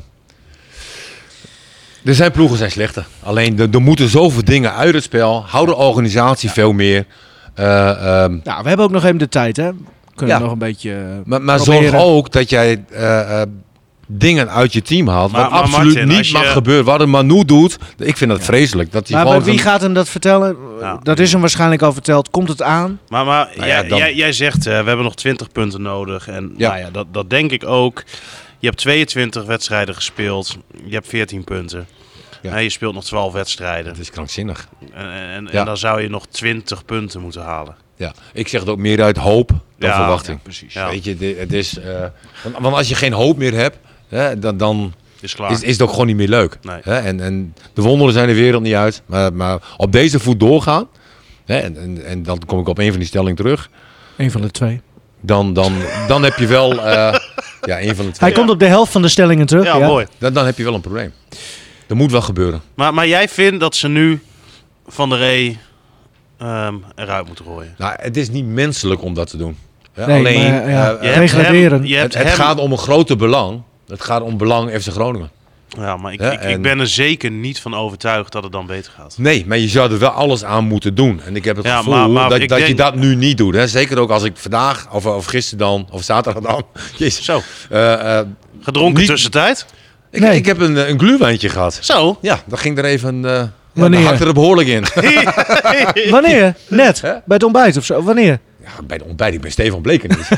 S6: er zijn ploegen zijn slechter. Alleen er, er moeten zoveel dingen uit het spel. Hou de organisatie veel meer. Eh, ehm,
S3: nou, we hebben ook nog even de tijd, hè? Kunnen
S6: Ja.
S3: we nog een beetje... eh,
S6: maar maar zorg
S3: proberen.
S6: ook dat jij eh, eh, dingen uit je team haalt.
S5: Maar-
S6: wat
S5: maar
S6: absoluut
S5: Martin,
S6: niet
S5: als je-
S6: mag gebeuren. Wat een Manu doet. Ik vind dat vreselijk. Dat hij
S3: Maar,
S6: gewoon
S3: bij wie
S6: gaan-
S3: gaat hem dat vertellen?
S5: Ja.
S3: Dat is hem waarschijnlijk al verteld. Komt het aan?
S5: Maar, maar
S6: Nou ja,
S5: jij,
S6: dan-
S5: jij, jij zegt, eh, we hebben nog 20 punten nodig. En
S6: Ja.
S5: Nou ja, dat, dat denk ik ook. Je hebt 22 wedstrijden gespeeld. Je hebt 14 punten.
S6: Ja.
S5: En je speelt nog 12 wedstrijden.
S6: Het is krankzinnig.
S5: En, en,
S6: Ja.
S5: en dan zou je nog 20 punten moeten halen.
S6: Ja, ik zeg het ook meer uit hoop dan
S5: Ja,
S6: verwachting.
S5: ja, precies. Ja.
S6: Weet je, de- het is, eh, want, want als je geen hoop meer hebt, hè, dan, dan
S5: Is klaar.
S6: is, is het ook gewoon niet meer leuk.
S5: Nee.
S6: Hè? En, en de wonderen zijn de wereld niet uit. Maar, maar op deze voet doorgaan, hè, en, en, en dan kom ik op een van die stellingen terug.
S3: Een van de twee.
S6: Dan, dan, dan heb je wel, eh, ja, een van de
S3: Hij
S6: twee.
S3: komt op de helft van de stellingen terug.
S5: ja,
S3: Ja,
S5: mooi.
S6: Dan, dan heb je wel een probleem. Dat moet wel gebeuren.
S5: Maar, maar jij vindt dat ze nu Van der Ree ehm, eruit moeten gooien?
S6: Nou, het is niet menselijk om dat te doen. Hè,
S3: Nee,
S6: Alleen,
S3: maar, ja,
S6: eh,
S5: Je hebt
S3: Degraderen.
S5: hem- je hebt
S6: het, het
S5: hem-
S6: gaat om een groter belang. Het gaat om belang FC Groningen.
S5: Ja, maar ik,
S6: Ja,
S5: ik, ik
S6: en-
S5: ben er zeker niet van overtuigd dat het dan beter gaat.
S6: Nee, maar je zou er wel alles aan moeten doen. En ik heb het
S5: Ja,
S6: gevoel
S5: maar- maar
S6: dat,
S5: ik
S6: dat je
S5: denk-
S6: dat nu niet doet. Hè? Zeker ook als ik vandaag, of, of gisteren dan, of zaterdag dan. Jezus.
S5: Zo,
S6: Eh, eh,
S5: gedronken
S6: Niet-
S5: tussentijd?
S6: ik,
S3: Nee.
S6: ik heb een, eh, een gluwijntje gehad.
S5: Zo.
S6: Ja, dat ging er even... eh ja,
S3: Wanneer?
S6: dat hakte er behoorlijk in.
S3: Wanneer? Net? Bij het ontbijt of zo? Wanneer?
S6: ja, bij de ontbijt, ik ben Stefan Bleken niet.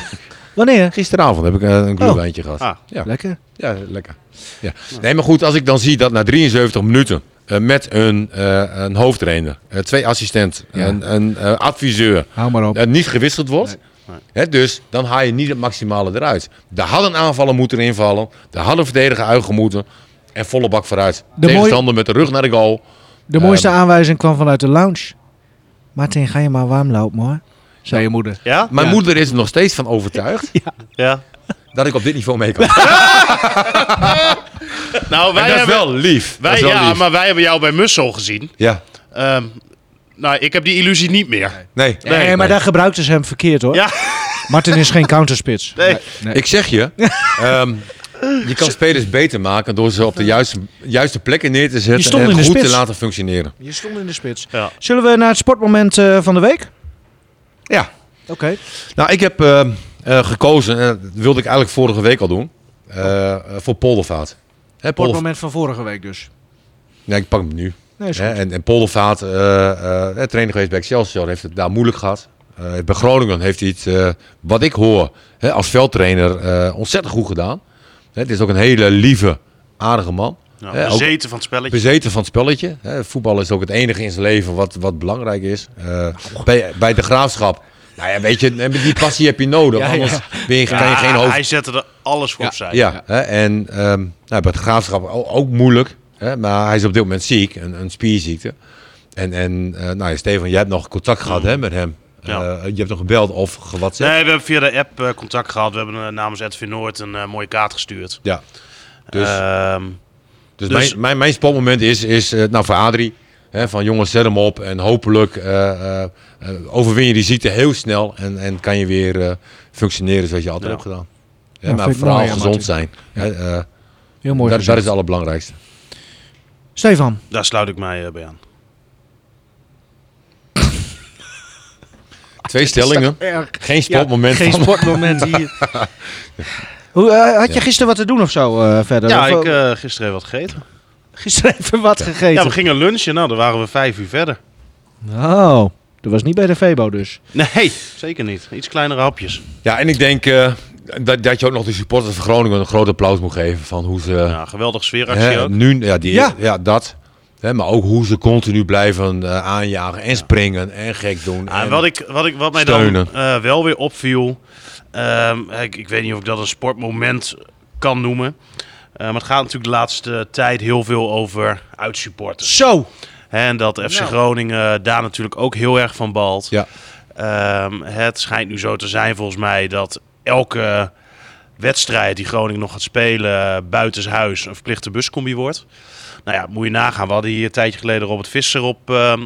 S3: Wanneer?
S6: Gisteravond heb ik eh, een gluwijntje gehad.
S5: Ah.
S6: Ja.
S3: Lekker.
S6: Ja, lekker. Ja. Nee, maar goed, als ik dan zie dat na 73 minuten eh, met een, eh, een hoofdtrainer, eh, twee assistent, een, een eh, adviseur,
S3: Hou maar op.
S6: eh, niet gewisseld wordt. Hè, dus dan haal je niet het maximale eruit. Daar hadden aanvallen moeten invallen, daar hadden verdedigen uitgemoeten en volle bak vooruit.
S3: mooie-
S6: Tegenstander met de rug naar de goal.
S3: De mooiste aanwijzing kwam vanuit de lounge. Martin, ga je maar warm lopen, hoor. Zei je moeder.
S5: Ja?
S6: Mijn moeder is er nog steeds van overtuigd
S5: Ja.
S6: dat ik op dit niveau mee kan.
S5: Nou, wij
S6: En dat
S5: hebben...
S6: is wel lief.
S5: Wij,
S6: dat is wel
S5: ja,
S6: lief.
S5: maar wij hebben jou bij Mussel gezien.
S6: Ja.
S5: Ehm, nou, ik heb die illusie niet meer.
S6: Nee.
S3: Nee, maar daar gebruikten ze hem verkeerd, hoor.
S5: Ja.
S3: Martin is geen counterspits.
S5: Nee.
S6: Ik zeg je, ehm, je kan spelers beter maken door ze op de juiste, juiste plekken neer te
S3: Die
S6: zetten
S3: stond
S6: en
S3: in de
S6: goed
S3: spits.
S6: te laten functioneren.
S3: Je stond in de spits.
S5: Ja.
S3: Zullen we naar het sportmoment eh, van de week?
S6: Ja.
S3: Oké.
S6: Nou, ik heb ehm, eh, gekozen, en dat wilde ik eigenlijk vorige week al doen, eh, eh, voor Poldervaat. Hè, Poldervaat.
S3: Sportmoment van vorige week dus.
S6: Nee, ik pak hem nu.
S3: Nee, is
S6: Hè,
S3: goed.
S6: en, en Poldervaat, eh, eh, hè, trainer geweest bij Excelsior, heeft het daar moeilijk gehad. Eh, bij Groningen heeft hij het, eh, wat ik hoor, hè, als veldtrainer eh, ontzettend goed gedaan. Hè, het is ook een hele lieve, aardige man.
S5: Nou,
S6: Hè, ook-
S5: bezeten van het spelletje.
S6: bezeten van het spelletje. Hè, voetbal is ook het enige in zijn leven wat, wat belangrijk is. Eh, bij, bij de graafschap. Nou ja, weet je, en die passie heb je nodig.
S3: Ja, ja.
S6: anders Ben je, kan je
S5: Ja,
S6: geen
S5: Hij
S6: hoofd.
S5: zette er alles voor opzij.
S6: Ja, hè, en ehm, nou, bij de graafschap ook, ook moeilijk. Hè, maar hij is op dit moment ziek, een, een spierziekte. En, en eh, nou ja, Stefan, jij hebt nog contact gehad hè, met hem.
S5: Ja.
S6: Eh, je hebt nog gebeld of
S5: Nee,
S6: gewhatsappt.
S5: we hebben via de app eh, contact gehad. We hebben eh, namens Edwin Noord een eh, mooie kaart gestuurd.
S6: Ja. Dus,
S5: Ehm,
S6: dus,
S5: dus-
S6: mijn, mijn, mijn spotmoment is, is eh, nou voor Adrie. Hè, van jongens, zet hem op. En hopelijk eh, eh, eh, overwin je die ziekte heel snel. En, en kan je weer eh, functioneren zoals je altijd
S5: Ja.
S6: hebt gedaan. Hè,
S3: Ja,
S6: maar
S3: vind ik
S6: vooral
S3: mooi, ja,
S6: gezond
S3: Martin.
S6: zijn. Hè, eh,
S3: Heel mooi
S6: dat, dat
S3: gezegd.
S6: is het allerbelangrijkste.
S3: Stefan.
S5: daar sluit ik mij eh, bij aan.
S6: Twee stellingen. Geen spotmoment.
S3: Geen
S6: van-
S3: sportmoment hier. Hoe, eh, had je gisteren wat te doen of zo eh, verder?
S5: Ja,
S3: Of,
S5: ik
S3: eh,
S5: eh gisteren even wat gegeten.
S3: gisteren even wat
S5: Ja,
S3: gegeten.
S5: we gingen lunchen. Nou, dan waren we vijf uur verder.
S3: Oh. Dat was niet bij de Febo dus.
S5: Nee, zeker niet. Iets kleinere hapjes.
S6: Ja, en ik denk eh, dat, dat je ook nog de supporters van Groningen een groot applaus moet geven van hoe ze
S5: Ja, geweldig sfeeractie
S6: hè,
S5: ook.
S6: nu, ja, die,
S3: Ja.
S6: ja. dat. Hè, maar ook hoe ze continu blijven eh, aanjagen en springen en gek doen.
S5: Ah, en
S6: en-
S5: wat, ik, wat, ik, wat mij
S6: Steunen.
S5: dan eh, wel weer opviel. ehm, ik, ik weet niet of ik dat een sportmoment kan noemen. Eh, maar het gaat natuurlijk de laatste tijd heel veel over uitsupporters.
S3: Zo!
S5: Hè, En dat FC Groningen daar natuurlijk ook heel erg van balt.
S6: Ja.
S5: Ehm, het schijnt nu zo te zijn volgens mij dat elke wedstrijd die Groningen nog gaat spelen eh, buitenshuis een verplichte buscombi wordt. Nou ja, moet je nagaan. We hadden hier een tijdje geleden Robert Visser op ehm,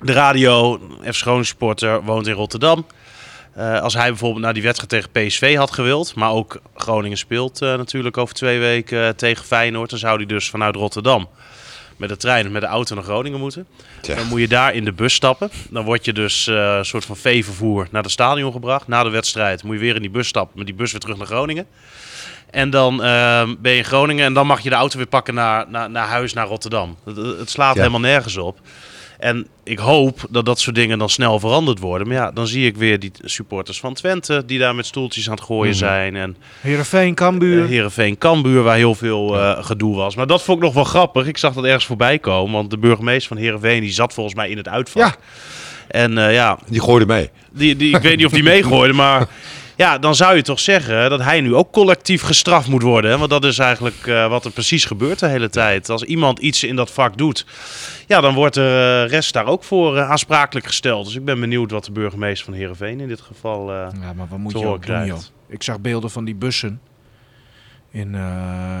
S5: de radio. FC Groningen supporter, woont in Rotterdam. Eh, als hij bijvoorbeeld naar die wedstrijd tegen PSV had gewild, maar ook Groningen speelt eh, natuurlijk over twee weken eh, tegen Feyenoord, dan zou hij dus vanuit Rotterdam met de trein of met de auto naar Groningen moeten. Dan moet je daar in de bus stappen. Dan word je dus eh, een soort van veevervoer naar het stadion gebracht. Na de wedstrijd moet je weer in die bus stappen, met die bus weer terug naar Groningen. En dan eh, ben je in Groningen en dan mag je de auto weer pakken naar, naar, naar huis, naar Rotterdam. Het, het slaat
S6: Ja.
S5: helemaal nergens op. En ik hoop dat dat soort dingen dan snel veranderd worden. Maar ja, dan zie ik weer die supporters van Twente die daar met stoeltjes aan het gooien zijn. En
S3: Heerenveen,
S5: eh,
S3: Cambuur.
S5: Heerenveen Kambuur, waar heel veel eh, gedoe was. Maar dat vond ik nog wel grappig. Ik zag dat ergens voorbij komen. Want de burgemeester van Heerenveen die zat volgens mij in het uitvak.
S6: Ja.
S5: En eh, ja,
S6: Die gooide mee.
S5: die, die, ik weet niet of die meegooide, maar... Ja, dan zou je toch zeggen dat hij nu ook collectief gestraft moet worden. Hè? Want dat is eigenlijk eh, wat er precies gebeurt de hele tijd. Als iemand iets in dat vak doet, ja, dan wordt de eh, rest daar ook voor eh, aansprakelijk gesteld. Dus ik ben benieuwd wat de burgemeester van Heerenveen in dit geval... eh,
S3: Ja, maar wat moet
S5: Te
S3: je
S5: horen
S3: ook doen, joh?
S5: krijgt.
S3: Ik zag beelden van die bussen in, eh in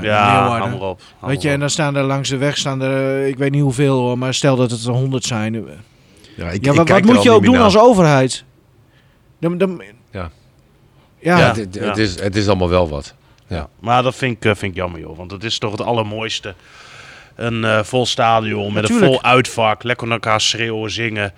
S5: ja,
S3: Leeuwarden.
S5: hamer op. hamer
S3: Weet je, en
S5: op.
S3: dan staan er langs de weg, staan er, eh, ik weet niet hoeveel hoor, maar stel dat het er honderd zijn. eh,
S6: Ja, ik,
S3: ja,
S6: ik
S3: maar
S6: kijk
S3: wat
S6: er
S3: moet je
S6: al niet
S3: ook
S6: meer
S3: doen
S6: naar.
S3: als overheid? Dan, dan,
S6: Ja.
S3: Ja,
S6: Ja,
S5: Ja,
S6: het, het
S5: ja.
S6: is, het is allemaal wel wat.
S5: Maar dat vind ik, eh, vind ik jammer, joh. Want dat is toch het allermooiste. Een eh, vol stadion met
S3: Natuurlijk.
S5: een vol uitvak. Lekker naar elkaar schreeuwen, zingen.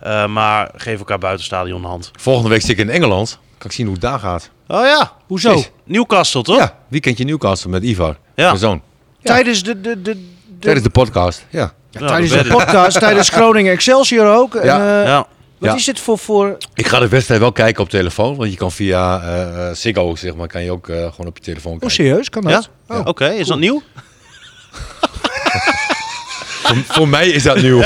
S5: Eh, maar geef elkaar buiten het stadion een hand.
S6: Volgende week zit ik in Engeland. Kan ik zien hoe het daar gaat.
S5: Oh ja.
S3: hoezo?
S6: Precies.
S5: Newcastle, toch?
S6: Ja, weekendje Newcastle met Ivar,
S5: Ja.
S6: mijn zoon.
S3: Tijdens de, de, de, de-
S6: Tijdens nou, de podcast, ja.
S5: Ja,
S3: tijdens
S5: dat
S3: de
S5: weet ik.
S3: podcast, tijdens Groningen Excelsior ook. En,
S6: Ja.
S3: eh,
S5: Ja.
S3: Wat
S6: Ja.
S3: is dit voor... oh, voor
S6: Ik ga de wedstrijd wel kijken op telefoon, want je kan via eh, eh, Ziggo, zeg maar, kan je ook eh, gewoon op je telefoon
S3: oh,
S6: kijken.
S3: serieus? Kan
S5: Ja?
S3: dat? Oh.
S5: Oké, is dat nieuw?
S6: voor, voor mij is dat nieuw.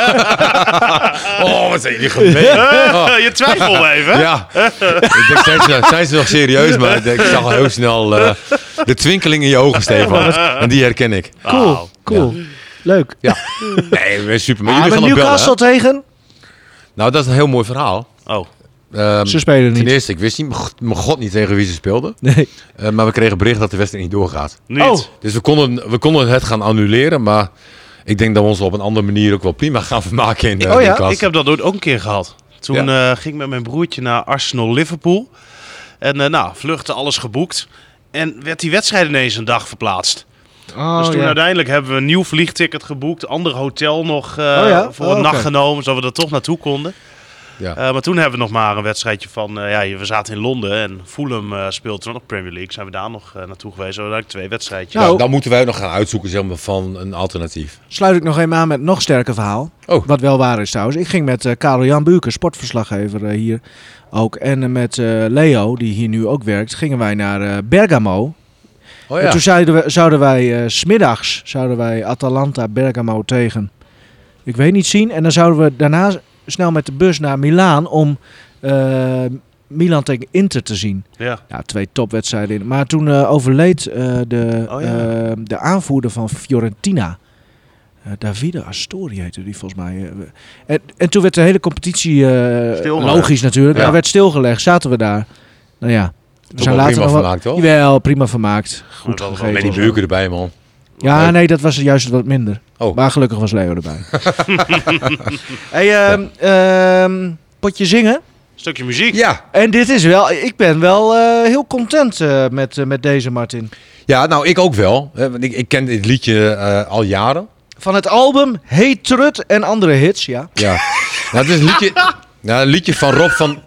S6: oh, wat zijn jullie gemeen. Oh,
S5: je twijfelt even.
S6: ja, ik denk, zijn ze, zijn ze nog serieus? Maar ik, denk, ik zag al heel snel eh, de twinkeling in je ogen, Stefan. En die herken ik.
S3: Cool, cool. Leuk.
S6: Ja. Nee, we zijn super. Maar
S3: Ah,
S6: jullie
S3: maar
S6: gaan ook bellen, hè?
S3: Newcastle tegen?
S6: Nou, dat is een heel mooi verhaal.
S5: Oh,
S6: Ehm,
S3: Ze spelen
S6: Ten
S3: niet.
S6: eerste, ik wist niet, mijn god- mijn god niet tegen wie ze speelden.
S3: Nee.
S6: Eh, maar we kregen bericht dat de wedstrijd niet doorgaat.
S5: niet.
S3: Oh.
S6: Dus we konden, we konden het gaan annuleren. Maar ik denk dat we ons op een andere manier ook wel prima gaan vermaken in de
S3: Oh ja,
S5: Ik heb dat ooit ook een keer gehad. Toen eh, ging ik met mijn broertje naar Arsenal-Liverpool. En eh, nou, vluchten, alles geboekt. En werd die wedstrijd ineens een dag verplaatst.
S3: Oh,
S5: dus toen
S3: ja.
S5: uiteindelijk hebben we een nieuw vliegticket geboekt. Ander hotel nog eh,
S3: Oh ja?
S5: voor
S3: Oh,
S5: een
S3: oké.
S5: nacht genomen, zodat we er toch naartoe konden.
S6: Ja.
S5: Eh, maar toen hebben we nog maar een wedstrijdje van... eh, ja, we zaten in Londen en Fulham eh speelde toen nog Premier League. Zijn we daar nog eh, naartoe geweest. Zo eigenlijk twee wedstrijdjes.
S3: Nou,
S6: Dan moeten wij ook nog gaan uitzoeken zeg maar, van een alternatief.
S3: Sluit ik nog even aan met een nog sterker verhaal.
S6: Oh.
S3: Wat wel waar is trouwens. Ik ging met eh Karel Jan Buurken, sportverslaggever eh, hier ook. En eh, met eh, Leo, die hier nu ook werkt, gingen wij naar eh, Bergamo.
S6: Oh
S3: En toen zouden, we, zouden wij eh, 's smiddags zouden wij Atalanta Bergamo tegen. Ik weet niet zien. En dan zouden we daarna s- snel met de bus naar Milaan om eh, Milan tegen Inter te zien.
S5: Ja.
S3: Ja, twee topwedstrijden. in. Maar toen eh, overleed eh, de,
S5: Oh ja.
S3: eh, de aanvoerder van Fiorentina. Eh, Davide Astori heette die volgens mij. eh. en, en toen werd de hele competitie, eh,
S5: Stilgelegd.
S3: logisch natuurlijk,
S6: Ja.
S3: maar werd stilgelegd. Zaten we daar. Nou ja, we
S6: Toch wel prima vermaakt, toch?
S3: Jawel, prima vermaakt.
S5: Maar
S3: Goed
S5: wel- wel
S3: gegeten.
S5: met
S6: Met die buurken erbij, man.
S3: Ja, nee, dat was juist wat minder.
S6: Oh.
S3: Maar gelukkig was Leo erbij. hey, ehm, ehm, potje zingen.
S5: Stukje muziek.
S6: Ja.
S3: En dit is wel, ik ben wel eh, heel content eh, met, eh, met deze Martin.
S6: ja, nou, ik ook wel. hè, want Ik, ik ken dit liedje eh, al jaren.
S3: Van het album Hey Trut en andere hits, ja.
S6: Ja. nou, het is een liedje, nou, een liedje van Rob van,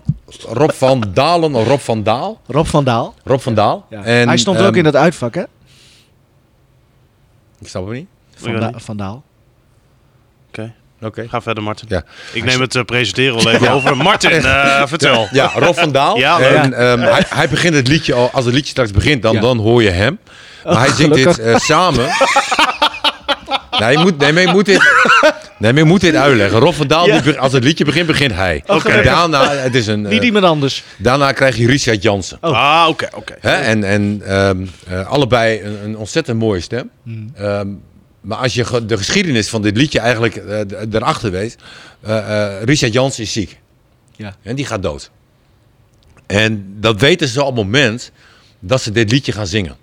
S6: Rob van Dalen. of Rob van Daal.
S3: Rob van Daal.
S6: Rob van Daal. En,
S3: Hij stond
S6: ehm,
S3: ook in dat uitvak, hè?
S6: Ik snap het niet.
S5: Ik
S3: Van,
S5: weet
S3: Da-
S5: niet.
S3: van Daal.
S5: Oké.
S6: Oké.
S5: Ga verder, Martin.
S6: Ja.
S5: Ik neem het eh, presenteren wel even over. Martin, eh, vertel.
S6: Ja, Rob van Daal.
S5: Ja, leuk.
S6: en, ehm, hij, hij begint het liedje al. Als het liedje straks begint, dan,
S3: Ja. Oh,
S6: dan hoor je hem. Maar hij zingt dit eh, samen. nee, je moet, nee, maar je moet dit, nee, maar je moet dit uitleggen. Rob van Daal, die be- als het liedje begint, begint hij. En daarna, het is een,
S3: Niet
S6: eh,
S3: iemand anders.
S6: daarna krijg je Richard Jansen.
S3: Oh.
S5: Ah, oké, oké.
S6: Hè? En, en ehm, eh, allebei een, een ontzettend mooie stem. Ehm, maar als je ge- de geschiedenis van dit liedje eigenlijk eh, d- erachter weet. eh, eh, Richard Jans is ziek.
S3: Ja.
S6: En die gaat dood. En dat weten ze op het moment dat ze dit liedje gaan zingen.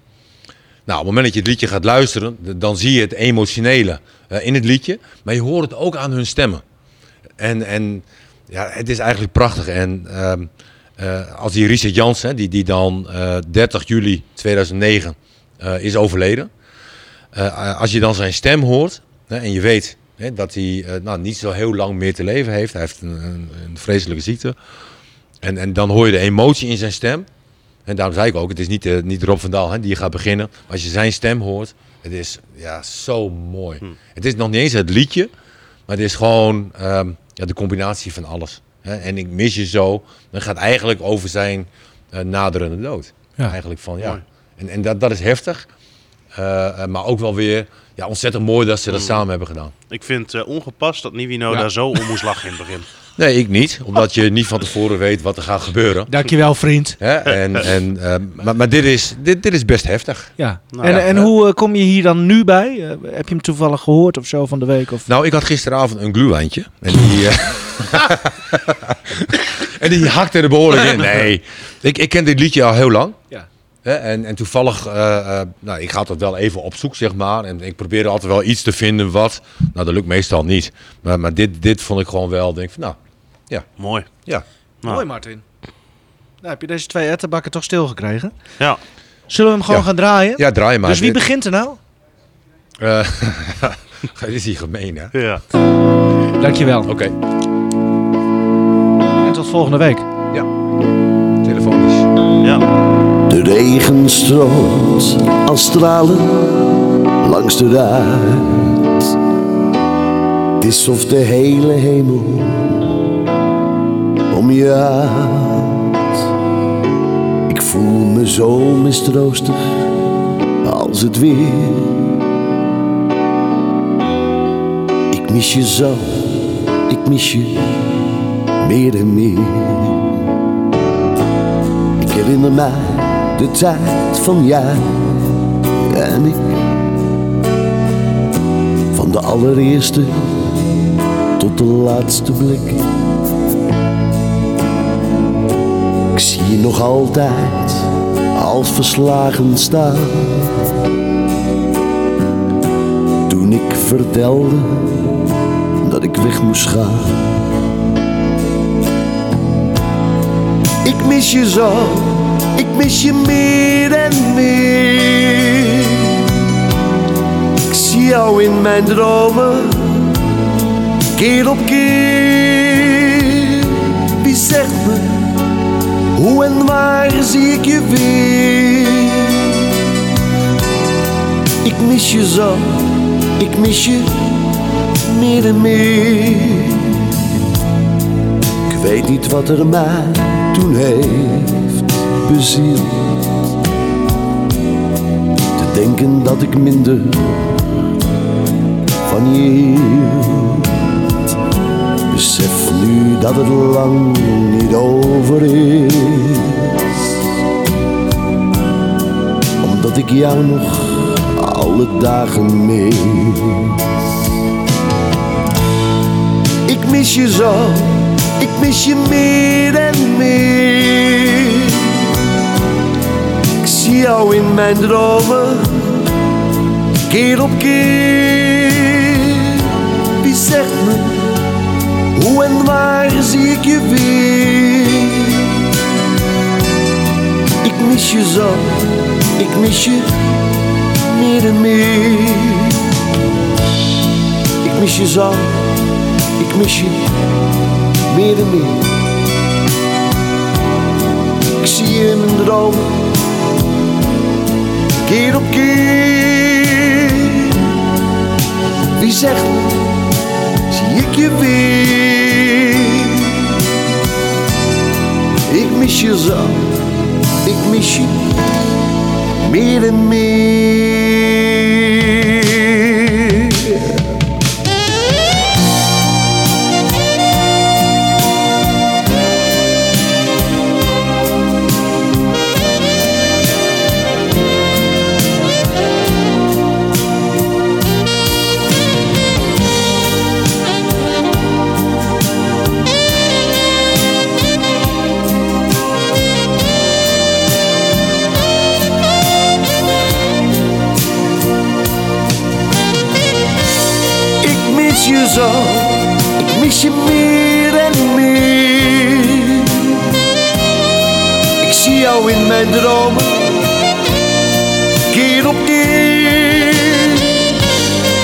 S6: Nou, op het moment dat je het liedje gaat luisteren, d- dan zie je het emotionele eh, in het liedje. Maar je hoort het ook aan hun stemmen. En, en ja, het is eigenlijk prachtig. En ehm, eh, als die Richard Jansen, hè, die, die dan eh, 30 juli 2009 eh, is overleden. Eh, als je dan zijn stem hoort hè, en je weet hè, dat hij eh, nou, niet zo heel lang meer te leven heeft. Hij heeft een, een, een vreselijke ziekte. En, en dan hoor je de emotie in zijn stem. En daarom zei ik ook, het is niet, eh, niet Rob van Daal hè, die gaat beginnen. Maar als je zijn stem hoort, het is ja, zo mooi. Het is nog niet eens het liedje, maar het is gewoon ehm, ja, de combinatie van alles. Hè? En ik mis je zo. Dan gaat eigenlijk over zijn eh, naderende dood.
S3: Ja.
S6: Eigenlijk van ja. En, en dat, dat is heftig. Eh, eh, maar ook wel weer ja, ontzettend mooi dat ze dat samen hebben gedaan.
S5: Ik vind het ongepast dat Nivino
S6: Ja.
S5: daar zo om moest lachen in het begin.
S6: Nee, ik niet. Omdat je niet van tevoren weet wat er gaat gebeuren.
S3: Dankjewel, vriend.
S6: Hè? En, en, ehm, maar maar dit, is, dit, dit is best heftig.
S3: Ja.
S5: Nou
S3: en
S5: ja,
S3: en
S6: hè.
S3: hoe eh, kom je hier dan nu bij? Eh, heb je hem toevallig gehoord of zo van de week? Of...
S6: Nou, ik had gisteravond een gluwijntje. En die, eh, en die hakte er behoorlijk in. Nee, ik, ik ken dit liedje al heel lang.
S3: Ja.
S6: Hè, en, en toevallig, eh, eh, nou, ik ga dat wel even op zoek, zeg maar. En ik probeer altijd wel iets te vinden wat... Nou, dat lukt meestal niet. Maar, maar dit, dit vond ik gewoon wel, denk ik van, nou,
S5: Mooi.
S6: ja.
S5: Nou.
S3: Mooi, Martin. Nou, heb je deze twee ettenbakken toch stilgekregen?
S5: Ja.
S3: Zullen we hem gewoon
S6: Ja.
S3: gaan draaien?
S6: Ja, draai maar.
S3: dus wie
S6: Dit-
S3: begint er nou?
S6: eh, dit is hier gemeen, hè? Oké.
S5: ja.
S3: Dankjewel. En tot volgende week.
S6: Telefonisch.
S5: ja.
S9: De regen stroomt als stralen langs de ruit. Het is of de hele hemel om je uit. Ik voel me zo mistroostig als het weer. Ik mis je zo, ik mis je meer en meer. Ik herinner mij de tijd van jij en ik. Van de allereerste tot de laatste blik. Ik zie je nog altijd als verslagen staan. Toen ik vertelde dat ik weg moest gaan. Ik mis je zo, ik mis je meer en meer. Ik zie jou in mijn dromen, keer op keer. Wie zegt me, hoe en waar zie ik je weer? Ik mis je zo, ik mis je meer en meer. Ik weet niet wat er mij toen heeft bezield. Te denken dat ik minder van je hield. Besef nu dat het lang niet over is. Omdat ik jou nog alle dagen mis. Ik mis je zo, ik mis je meer en meer. Ik zie jou in mijn dromen, keer op keer. Wie zegt me, hoe en waar zie ik je weer? Ik mis je zo, ik mis je meer en meer. Ik mis je zo. Ik mis je meer en meer. Ik zie je in mijn droom. Keer op keer. Wie zegt, zie zie ik je weer. Ik mis je zo, ik mis je meer en meer. Ik mis je zo, ik mis je meer en meer. Ik zie jou in mijn dromen, keer op keer.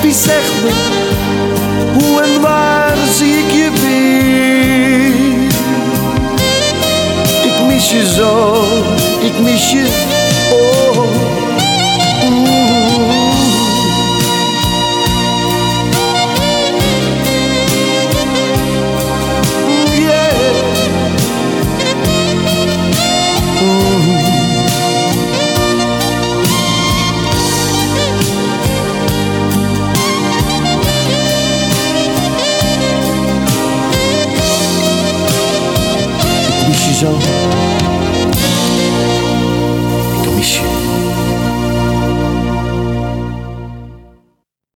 S9: Wie zegt me, hoe en waar zie ik je weer? Ik mis je zo, ik mis je, oh, Mm.